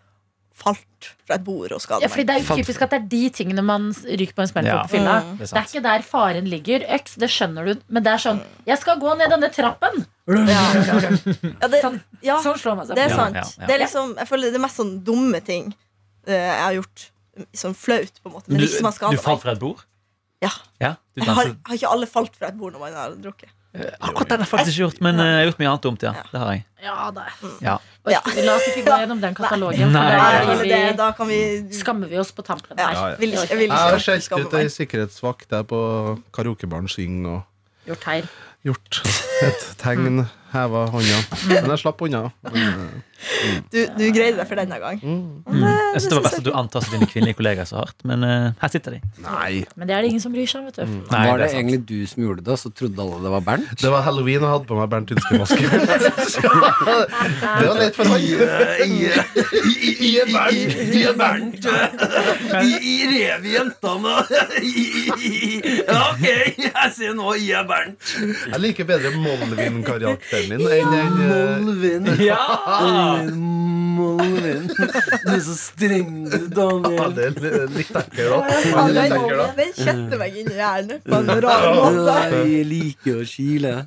Speaker 4: falt fra et bord og skade
Speaker 2: Ja, fordi
Speaker 4: meg.
Speaker 2: det er jo typisk at det er de tingene man ryker på en smell
Speaker 6: Ja.
Speaker 2: på på fylla.
Speaker 4: Mm.
Speaker 6: Det er
Speaker 2: Det er
Speaker 6: sant.
Speaker 2: ikke der faren ligger. Øks, det skjønner du. Men det er sånn Jeg skal gå ned denne trappen! Sånn
Speaker 4: Ja, det, ja,
Speaker 2: slår man seg
Speaker 4: det
Speaker 2: på.
Speaker 4: er
Speaker 6: Ja,
Speaker 4: sant.
Speaker 6: ja, ja.
Speaker 4: Det er liksom, jeg føler det er mest sånn dumme ting øh, jeg har gjort. Sånn flaut, på en måte. Men
Speaker 6: Du,
Speaker 4: ikke som har
Speaker 6: du
Speaker 4: skadet
Speaker 6: falt
Speaker 4: meg.
Speaker 6: fra et bord?
Speaker 4: Ja.
Speaker 6: Ja, du
Speaker 4: Jeg har,
Speaker 6: danset.
Speaker 4: har ikke alle falt fra et bord når man har drukket?
Speaker 6: Akkurat den har jeg faktisk ikke gjort, men eh, jeg har gjort mye annet dumt, ja. Det har jeg.
Speaker 2: Ja, da.
Speaker 6: Ja.
Speaker 2: Og ikke- La oss ikke gå gjennom den katalogen, for
Speaker 6: Nei.
Speaker 4: Nei,
Speaker 2: da
Speaker 4: jeg føler
Speaker 2: blir
Speaker 4: det,
Speaker 2: vi,
Speaker 4: da kan vi
Speaker 2: skammer vi oss på tampen
Speaker 4: ja,
Speaker 2: her.
Speaker 4: vil ikke, Jeg vil
Speaker 5: Jeg
Speaker 4: ikke
Speaker 5: har
Speaker 4: at du
Speaker 5: skjelt
Speaker 4: skammer
Speaker 5: ut ei
Speaker 4: meg.
Speaker 5: sikkerhetsvakt der på karaokebaren Syng og
Speaker 2: Gjort her. Mm.
Speaker 5: gjort et tegn, heva hånda. Men jeg slapp unna. Men, eh,
Speaker 4: Du, du greide deg for denne gang.
Speaker 6: Mm. Jeg synes det var
Speaker 4: synes
Speaker 6: best at du antastet dine kvinnelige kollegaer så hardt, men eh, her sitter de.
Speaker 5: Nei.
Speaker 2: Men det er det ingen som bryr seg om, vet du.
Speaker 6: Nei, det er
Speaker 3: var det
Speaker 6: sant.
Speaker 3: egentlig du som gjorde det, og så trodde alle det var Bernt?
Speaker 5: Det var halloween og jeg hadde på meg Bernt Hinske-maske. det var lett for
Speaker 8: I en verden, i en verden I, i revejentene Ja, ok, jeg ser nå i en verden
Speaker 5: Jeg liker bedre Molvin-karakteren din enn eh, den,
Speaker 8: Molvin
Speaker 6: Ja!
Speaker 8: Molvin Du er så streng, du,
Speaker 5: eh,
Speaker 8: Daniel
Speaker 5: det er litt ekkelt, da.
Speaker 4: Ja,
Speaker 5: Han er litt
Speaker 4: den,
Speaker 5: ekkel, da.
Speaker 4: den kjente meg inn i hjernen på en rar måte.
Speaker 8: Jeg liker å kile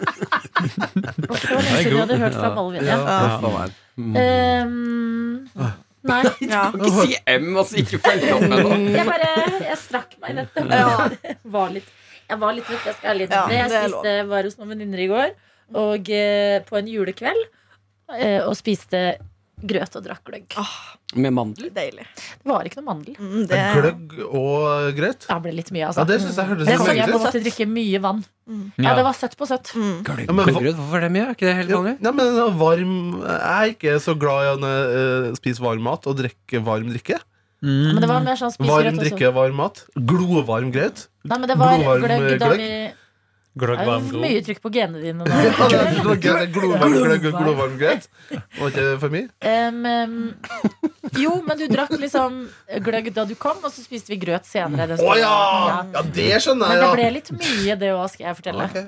Speaker 2: Og Det var lenge siden jeg hadde hørt fra Malvin. Ja. Ehm, nei.
Speaker 4: Ja.
Speaker 7: Ikke si M, altså. Ikke følge opp med noe.
Speaker 2: Jeg bare Jeg strakk meg nettopp.
Speaker 4: Ja.
Speaker 2: Var litt, jeg var litt trøtt. Jeg skal ærlig
Speaker 4: Ja,
Speaker 2: innrømme det.
Speaker 4: det er
Speaker 2: Jeg spiste var hos noen venninner i går, og eh, på en julekveld, eh, og spiste grøt og drakk gløgg.
Speaker 3: Med mandel?
Speaker 4: Deilig.
Speaker 2: Det var ikke noe mandel.
Speaker 4: Mm, det,
Speaker 5: Gløgg og grøt?
Speaker 2: Det ble litt mye,
Speaker 5: Ja,
Speaker 2: altså.
Speaker 5: det syns jeg hørtes
Speaker 2: Det er
Speaker 5: litt
Speaker 2: sånn
Speaker 5: mye
Speaker 2: jeg på en
Speaker 5: ut.
Speaker 2: måte drikker mye vann. Ja, det
Speaker 6: Ja.
Speaker 2: var søtt på søtt.
Speaker 4: mm.
Speaker 5: Ja, men hva-
Speaker 3: Gløggrøt, hvorfor er det mye? Er ikke det helt
Speaker 5: Ja,
Speaker 3: vanlig?
Speaker 5: ja, men det var varm Jeg er ikke så glad i å eh, spise varm mat og drikke varm drikke.
Speaker 6: Mm.
Speaker 2: Men det var mer sånn spis grøt og
Speaker 5: Varm
Speaker 2: søtt.
Speaker 5: drikke, varm mat. Glovarm grøt.
Speaker 2: Nei, men det var
Speaker 5: Glovarm
Speaker 2: gløgg da
Speaker 5: gløgg.
Speaker 2: vi
Speaker 6: Gløgg,
Speaker 2: det er
Speaker 6: varm,
Speaker 2: jo
Speaker 6: god.
Speaker 2: Mye trykk på genene dine
Speaker 5: Ja,
Speaker 2: nå.
Speaker 5: det er gløgg, Glovarm gløgg og glovarm grøt. Var ikke det for mye?
Speaker 2: Em, em, jo, men du drakk liksom gløgg da du kom, og så spiste vi grøt senere. den
Speaker 5: Å
Speaker 2: stunden.
Speaker 5: ja!
Speaker 2: Ja.
Speaker 5: Ja, det skjønner
Speaker 2: Men det ble
Speaker 5: jeg, ja.
Speaker 2: litt mye, det òg, skal jeg fortelle.
Speaker 5: Ok.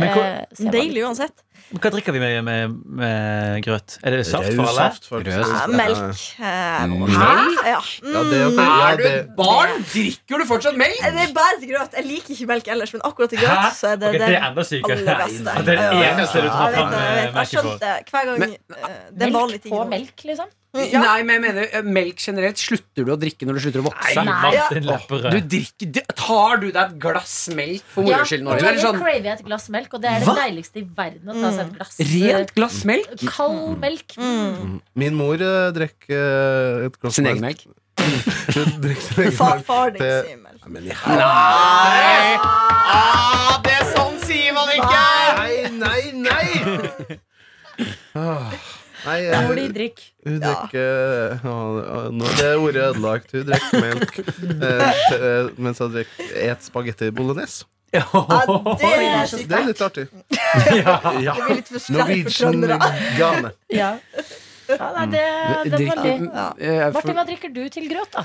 Speaker 6: Men
Speaker 2: Eh,
Speaker 6: hva,
Speaker 2: så jeg var litt-
Speaker 4: Deilig uansett.
Speaker 6: hva drikker vi med, med, med grøt? Er det saft for
Speaker 5: Raus
Speaker 6: alle?
Speaker 5: saft, faktisk.
Speaker 3: Grøt.
Speaker 4: Ja, melk. eh, må-
Speaker 7: Hæ?
Speaker 4: Ja.
Speaker 5: Ja, det er ok.
Speaker 3: Mm.
Speaker 5: Ja,
Speaker 7: Er du
Speaker 5: det,
Speaker 7: et barn? Drikker du fortsatt melk?
Speaker 4: Mm. Eh, Det er bare til grøt. Jeg liker ikke melk ellers, men akkurat til
Speaker 6: Hæ?
Speaker 4: grøt så er det
Speaker 6: Ok, det er
Speaker 4: den
Speaker 6: enda sykere.
Speaker 4: aller beste.
Speaker 6: At det er det eneste
Speaker 4: Ja, jeg vet
Speaker 6: du tar fram
Speaker 4: det, jeg vet
Speaker 6: eh,
Speaker 4: det. Jeg
Speaker 6: merket på.
Speaker 4: skjønte det. hver gang
Speaker 3: Men-
Speaker 4: eh, Det er en vanlig
Speaker 2: Melk
Speaker 4: ting.
Speaker 2: på melk, liksom.
Speaker 4: Ja.
Speaker 3: Nei, men jeg mener eh, melk generelt. Slutter du å drikke når du slutter å vokse?
Speaker 6: Nei, Martin
Speaker 3: Du
Speaker 6: Lepperød.
Speaker 3: drikker d-
Speaker 7: Tar du deg et glass melk?
Speaker 3: for moro skyld nå.
Speaker 2: og
Speaker 3: Du er
Speaker 2: jeg
Speaker 3: sånn
Speaker 2: craver jeg et glass melk, og det er det deiligste i verden å ta seg
Speaker 4: Mm.
Speaker 2: et glass
Speaker 3: rent glass melk?
Speaker 2: eh, kald melk.
Speaker 5: min mor uh, drikker eh, et glass
Speaker 3: Sin egen melk.
Speaker 5: Hun drikker sin egen
Speaker 4: Far,
Speaker 5: melk.
Speaker 4: far din
Speaker 5: Det-
Speaker 4: sier melk.
Speaker 5: Nei, men i helvete.
Speaker 7: Nei! Ah, det er sånn sier man ikke!
Speaker 5: Nei, nei, nei! Ah, Nei, eh,
Speaker 2: Hvor de drikker.
Speaker 5: hun drikker ja. Nå er det ordet ødelagt. Hun drikker melk eh, t- eh, mens hun drikker et spagetti bolognese.
Speaker 4: Ja, det er så
Speaker 5: Det er litt artig. Ja.
Speaker 4: Det blir litt for sterkt for
Speaker 5: Norwegian
Speaker 4: trøndere.
Speaker 5: gane.
Speaker 2: Ja. ja nei, det, den var litt
Speaker 3: Drikker- eh,
Speaker 2: Martin,
Speaker 3: for-
Speaker 2: hva drikker du til grøt, da?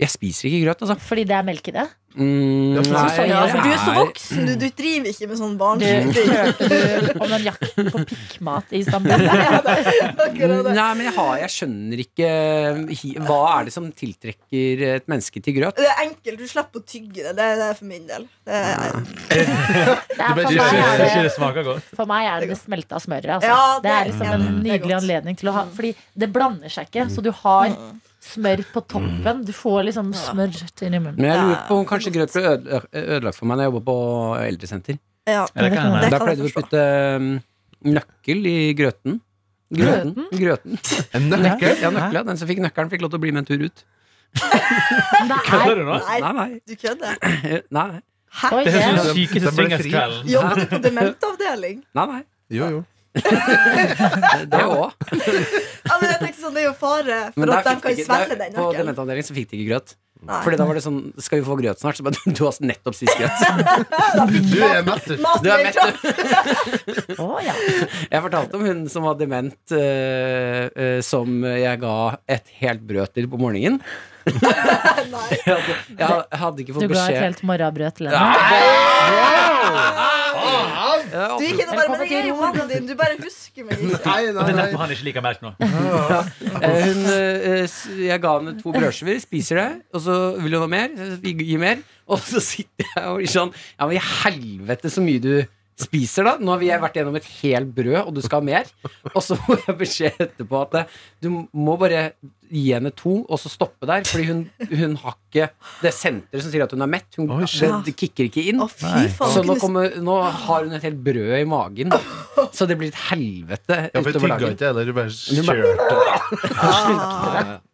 Speaker 3: Jeg spiser ikke grøt, altså.
Speaker 2: Fordi det er melk i det?
Speaker 3: Mm,
Speaker 5: Ja, for-
Speaker 3: nei,
Speaker 2: Så
Speaker 4: Ja,
Speaker 2: jeg
Speaker 4: for altså. du er så
Speaker 3: er-
Speaker 4: voksen. Du, du driver ikke med sånn
Speaker 2: Du
Speaker 4: barnslig ting.
Speaker 2: hørte du om den jakten på pikkmat i Istanbul?
Speaker 4: Akkurat det.
Speaker 3: Nei, men jeg, har, jeg skjønner ikke eh, hi- Hva er det som tiltrekker et menneske til grøt?
Speaker 4: Det er enkelt. Du slipper å tygge det. Det er, det er for min del. Det er,
Speaker 2: Det er,
Speaker 5: ble
Speaker 2: for,
Speaker 6: Ikke
Speaker 2: meg er
Speaker 6: ikke
Speaker 2: det,
Speaker 6: det smaker godt.
Speaker 2: for meg er det det smelta smøret. Altså.
Speaker 4: Ja, det-
Speaker 2: det er liksom
Speaker 4: ja,
Speaker 2: en
Speaker 4: det er
Speaker 2: nydelig
Speaker 4: godt.
Speaker 2: anledning til å ha Fordi det blander seg ikke, så du har smør på toppen. Du får liksom smør inn i munnen.
Speaker 3: Men jeg lurer på om kanskje grøt ble ødela- ødelagt for meg Når jeg jobba på eldresenter.
Speaker 4: ja.
Speaker 6: Ja, det kan hende.
Speaker 4: Det
Speaker 3: Der
Speaker 4: kan jeg
Speaker 3: pleide vi å
Speaker 4: forstå.
Speaker 3: putte um, nøkkel i grøten. Grøten? Grøten.
Speaker 5: En nøkkel?
Speaker 3: Ja, nøkkelen. Den som fikk nøkkelen, fikk lov til å bli med en tur ut.
Speaker 2: Men det er
Speaker 6: Kødder du nå?
Speaker 4: Nei,
Speaker 3: Nei, nei.
Speaker 4: du kødder.
Speaker 3: Nei, nei.
Speaker 2: Oi,
Speaker 4: Hæ?
Speaker 6: Det
Speaker 2: det-
Speaker 6: høres ut
Speaker 5: Ja.
Speaker 6: som den
Speaker 5: Den
Speaker 6: sykeste
Speaker 5: ble fri.
Speaker 6: swingerskvelden.
Speaker 4: Jobber du på dementavdeling?
Speaker 3: nei, nei.
Speaker 5: Jo, jo.
Speaker 3: Det òg.
Speaker 4: Ja, men jeg tenkte sånn, Det er jo fare for at de kan svelge den
Speaker 3: på
Speaker 4: nøkkelen.
Speaker 3: dementavdelingen så fikk de ikke grøt.
Speaker 4: Nei.
Speaker 3: Fordi da var det sånn Skal vi få grøt snart? Så bare Du har nettopp spist grøt.
Speaker 5: Du er mett, du.
Speaker 4: Mat
Speaker 3: Du er
Speaker 4: med
Speaker 3: mett,
Speaker 4: kropp.
Speaker 2: Å ja.
Speaker 3: Jeg fortalte om hun som var dement, eh, eh, som jeg ga et helt brød til på morgenen.
Speaker 4: Nei.
Speaker 3: Jeg hadde, jeg hadde ikke
Speaker 2: Du
Speaker 3: fått
Speaker 2: ga et
Speaker 3: beskjed.
Speaker 2: helt morrabrød til henne.
Speaker 5: Ah,
Speaker 3: Ja,
Speaker 4: Du gikk inn og bare Men jeg er jo mannen din. Du bare husker meg ikke.
Speaker 5: Nei,
Speaker 6: Og
Speaker 5: nei,
Speaker 6: det er
Speaker 5: nei.
Speaker 6: derfor han ikke liker melk nå.
Speaker 3: Eh, hun, eh, s- jeg ga henne to brødskiver, spiser det, og så vil hun ha mer. så Vi gir mer. Og så sitter jeg og blir sånn Ja, men i helvete så mye du spiser, da. Nå har vi vært gjennom et helt brød, og du skal ha mer. Og så får jeg beskjed etterpå at eh, du må bare gi henne to, og så stoppe der. Fordi hun, hun har ikke det senteret som sier at hun er mett. Hun,
Speaker 5: Oi, shit.
Speaker 3: det, det kicker ikke inn.
Speaker 4: Å, fy faen.
Speaker 3: Så nå,
Speaker 4: kunne-
Speaker 3: kommer, nå har hun et helt brød i magen. Så det blir et helvete
Speaker 5: Ja, for jeg
Speaker 3: utover
Speaker 5: tygga
Speaker 3: dagen.
Speaker 5: ikke heller. Du bare
Speaker 3: Du bare-
Speaker 5: kjørte.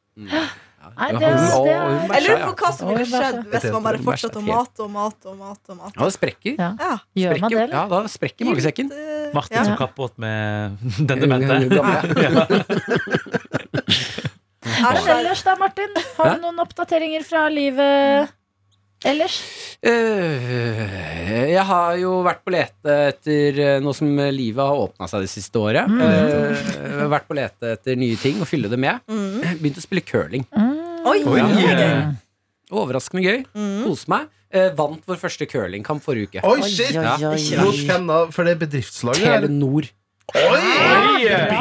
Speaker 2: Nei, det, det er
Speaker 4: Jeg lurer på hva som ville
Speaker 2: Oi, bæsja.
Speaker 4: skjedd hvis man bare fortsatte å mate og mate og mate. og mate.
Speaker 3: Ja, det sprekker.
Speaker 2: Ja.
Speaker 4: Ja.
Speaker 2: Gjør man det,
Speaker 3: sprekker.
Speaker 2: eller?
Speaker 3: Ja, da sprekker magesekken.
Speaker 4: Det
Speaker 6: Martin
Speaker 4: Ja.
Speaker 6: som kappåt med den
Speaker 3: Gammel,
Speaker 6: demente.
Speaker 3: gammel.
Speaker 6: Ja.
Speaker 2: Men ellers da, Martin? Har
Speaker 3: Hæ?
Speaker 2: du noen oppdateringer fra livet ellers?
Speaker 3: Eh, Jeg har jo vært på lete etter eh, noe som eh, livet har åpna seg det siste året. Eh, vært på lete etter nye ting og fylle det med.
Speaker 4: Mm.
Speaker 3: Begynte å spille curling.
Speaker 4: Oi!
Speaker 6: Oi.
Speaker 4: Ja.
Speaker 3: Overraskende gøy.
Speaker 4: Mm.
Speaker 3: Kose meg. Eh, vant vår første curlingkamp forrige uke.
Speaker 5: Oi, shit!
Speaker 3: Ja.
Speaker 5: Mot hvem da? For det er bedriftslaget? eller?
Speaker 3: Telenor.
Speaker 5: Oi!
Speaker 2: Bra.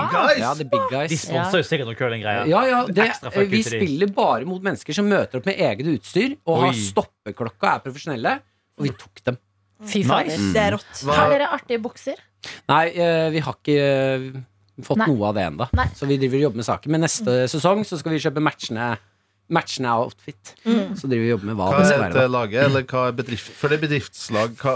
Speaker 5: Guys!
Speaker 3: Ja, the big
Speaker 6: De
Speaker 3: guys.
Speaker 6: sponser jo sikkert noen curlinggreier.
Speaker 3: Ja, ja, det, eh,
Speaker 6: Ekstra fuck
Speaker 3: vi
Speaker 6: you til de.
Speaker 3: spiller bare mot mennesker som møter opp med eget utstyr og har
Speaker 6: Oi.
Speaker 3: stoppeklokka, er profesjonelle, og vi tok dem.
Speaker 2: Fy fader.
Speaker 6: Mm.
Speaker 4: Det er rått.
Speaker 5: Hva-
Speaker 2: Har dere artige bukser?
Speaker 3: Nei, eh, vi har ikke eh, fått
Speaker 2: Nei.
Speaker 3: noe av det ennå.
Speaker 2: Nei. Mm.
Speaker 3: Så vi driver og jobber med saken. Men neste sesong så skal vi kjøpe matchende, matchende outfit.
Speaker 2: Mm.
Speaker 3: Så driver vi og jobber med hva
Speaker 5: Hva
Speaker 3: det skal være.
Speaker 5: heter laget, eller hva er bedrift... For det er bedriftslag. Hva,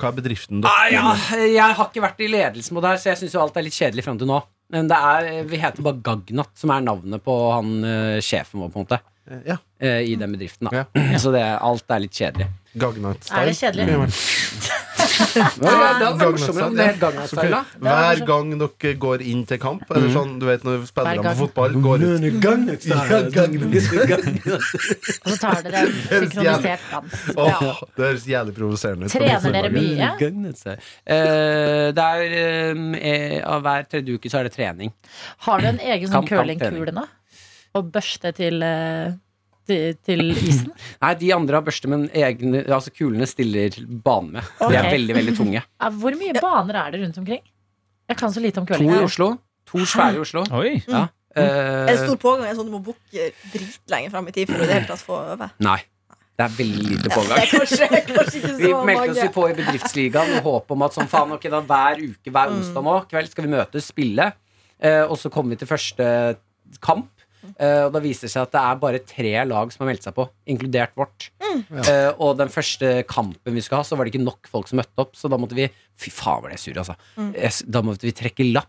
Speaker 5: hva er bedriften da?
Speaker 3: Ah, ja, jeg har ikke vært i ledelsen på det her, så jeg syns jo alt er litt kjedelig fram til nå. Men det er, vi heter bare Gagnat, som er navnet på han eh, sjefen vår, på en måte.
Speaker 5: Ja.
Speaker 3: Eh, I den bedriften, da. Så det, alt er litt kjedelig.
Speaker 2: Er det
Speaker 5: Gagnat-style.
Speaker 2: kjedelig?
Speaker 3: Ja, ja, det hadde vært
Speaker 5: Gagnat-style,
Speaker 3: morsommere om det het Gagnat
Speaker 5: Så kul.
Speaker 3: Saula.
Speaker 5: Hver gang dere går inn til kamp,
Speaker 3: Mm.
Speaker 5: eller sånn, du vet når
Speaker 2: Hver
Speaker 5: spillerne
Speaker 2: gang.
Speaker 5: på fotball går ut
Speaker 2: Og så tar dere en synkronisert dans.
Speaker 5: Åh, Det høres jævlig provoserende ut.
Speaker 2: Trener dere mye?
Speaker 3: Eh, det er eh, eh, Hver tredje uke så er det trening.
Speaker 2: Har du en egen
Speaker 3: Kamp,
Speaker 2: sånn
Speaker 3: kamp,
Speaker 2: curlingkule nå? Og børste til, eh, til, til isen?
Speaker 3: Nei, de andre har børste, men egne, altså kulene stiller banen med. De er
Speaker 2: Ok.
Speaker 3: veldig, veldig tunge.
Speaker 2: Ja, Hvor mye baner er det rundt omkring? Jeg kan så lite om
Speaker 3: To
Speaker 2: curling.
Speaker 3: i
Speaker 2: jeg.
Speaker 3: Oslo. To svære i Oslo.
Speaker 6: Oi.
Speaker 3: Ja.
Speaker 4: Er det
Speaker 3: Eh,
Speaker 4: stor pågang? Er det sånn du må booke dritlenge fram i tid for å i det hele tatt få øve?
Speaker 3: eh, nei. Det er veldig lite
Speaker 4: Det er
Speaker 3: pågang.
Speaker 4: kanskje, kanskje ikke
Speaker 3: Vi
Speaker 4: så
Speaker 3: meldte oss
Speaker 4: mange.
Speaker 3: jo på i Bedriftsligaen med håp om at sånn, faen, ok, da hver uke,
Speaker 4: Mm.
Speaker 3: hver onsdag nå, kveld skal vi møtes, spille, eh, og så kommer vi til første kamp. Eh, og da viser det seg at det er bare tre lag som har meldt seg på, inkludert vårt.
Speaker 4: Mm.
Speaker 3: Eh, og den første kampen vi skulle ha, så var det ikke nok folk som møtte opp, så da måtte vi Fy faen, var det sur, altså.
Speaker 4: Mm.
Speaker 3: Jeg s- Da måtte vi trekke lapp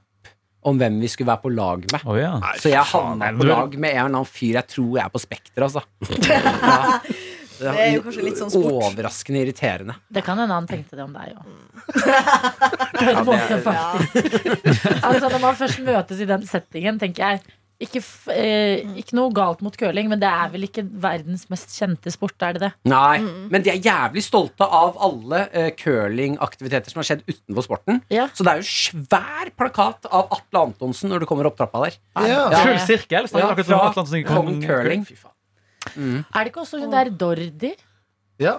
Speaker 3: om hvem vi skulle være på lag med.
Speaker 6: Å, ja.
Speaker 3: Så jeg havna
Speaker 6: nei,
Speaker 3: på
Speaker 6: du-
Speaker 3: lag med en eller annen fyr jeg tror jeg er på Spekter, altså. Ja.
Speaker 4: Det er jo kanskje litt sånn sport.
Speaker 3: Overraskende irriterende.
Speaker 2: Det kan hende han tenkte det om deg òg. altså, når man først møtes i den settingen, tenker jeg ikke, f eh, ikke noe galt mot curling, men det er vel ikke verdens mest kjente sport, er det det?
Speaker 3: Nei,
Speaker 4: Mm.
Speaker 3: men de er jævlig stolte av alle eh, curlingaktiviteter som har skjedd utenfor sporten.
Speaker 2: Ja.
Speaker 3: Så det er jo svær plakat av Atle Antonsen når du kommer opp trappa der.
Speaker 5: Ja.
Speaker 3: Ja.
Speaker 6: Full sirkel. snakker
Speaker 3: Ja,
Speaker 6: akkurat
Speaker 3: fra
Speaker 6: om Atlanten som
Speaker 3: Kong
Speaker 6: Kong-
Speaker 3: Curling.
Speaker 6: Fy faen.
Speaker 2: Er det ikke også hun der Dordi?
Speaker 5: Ja.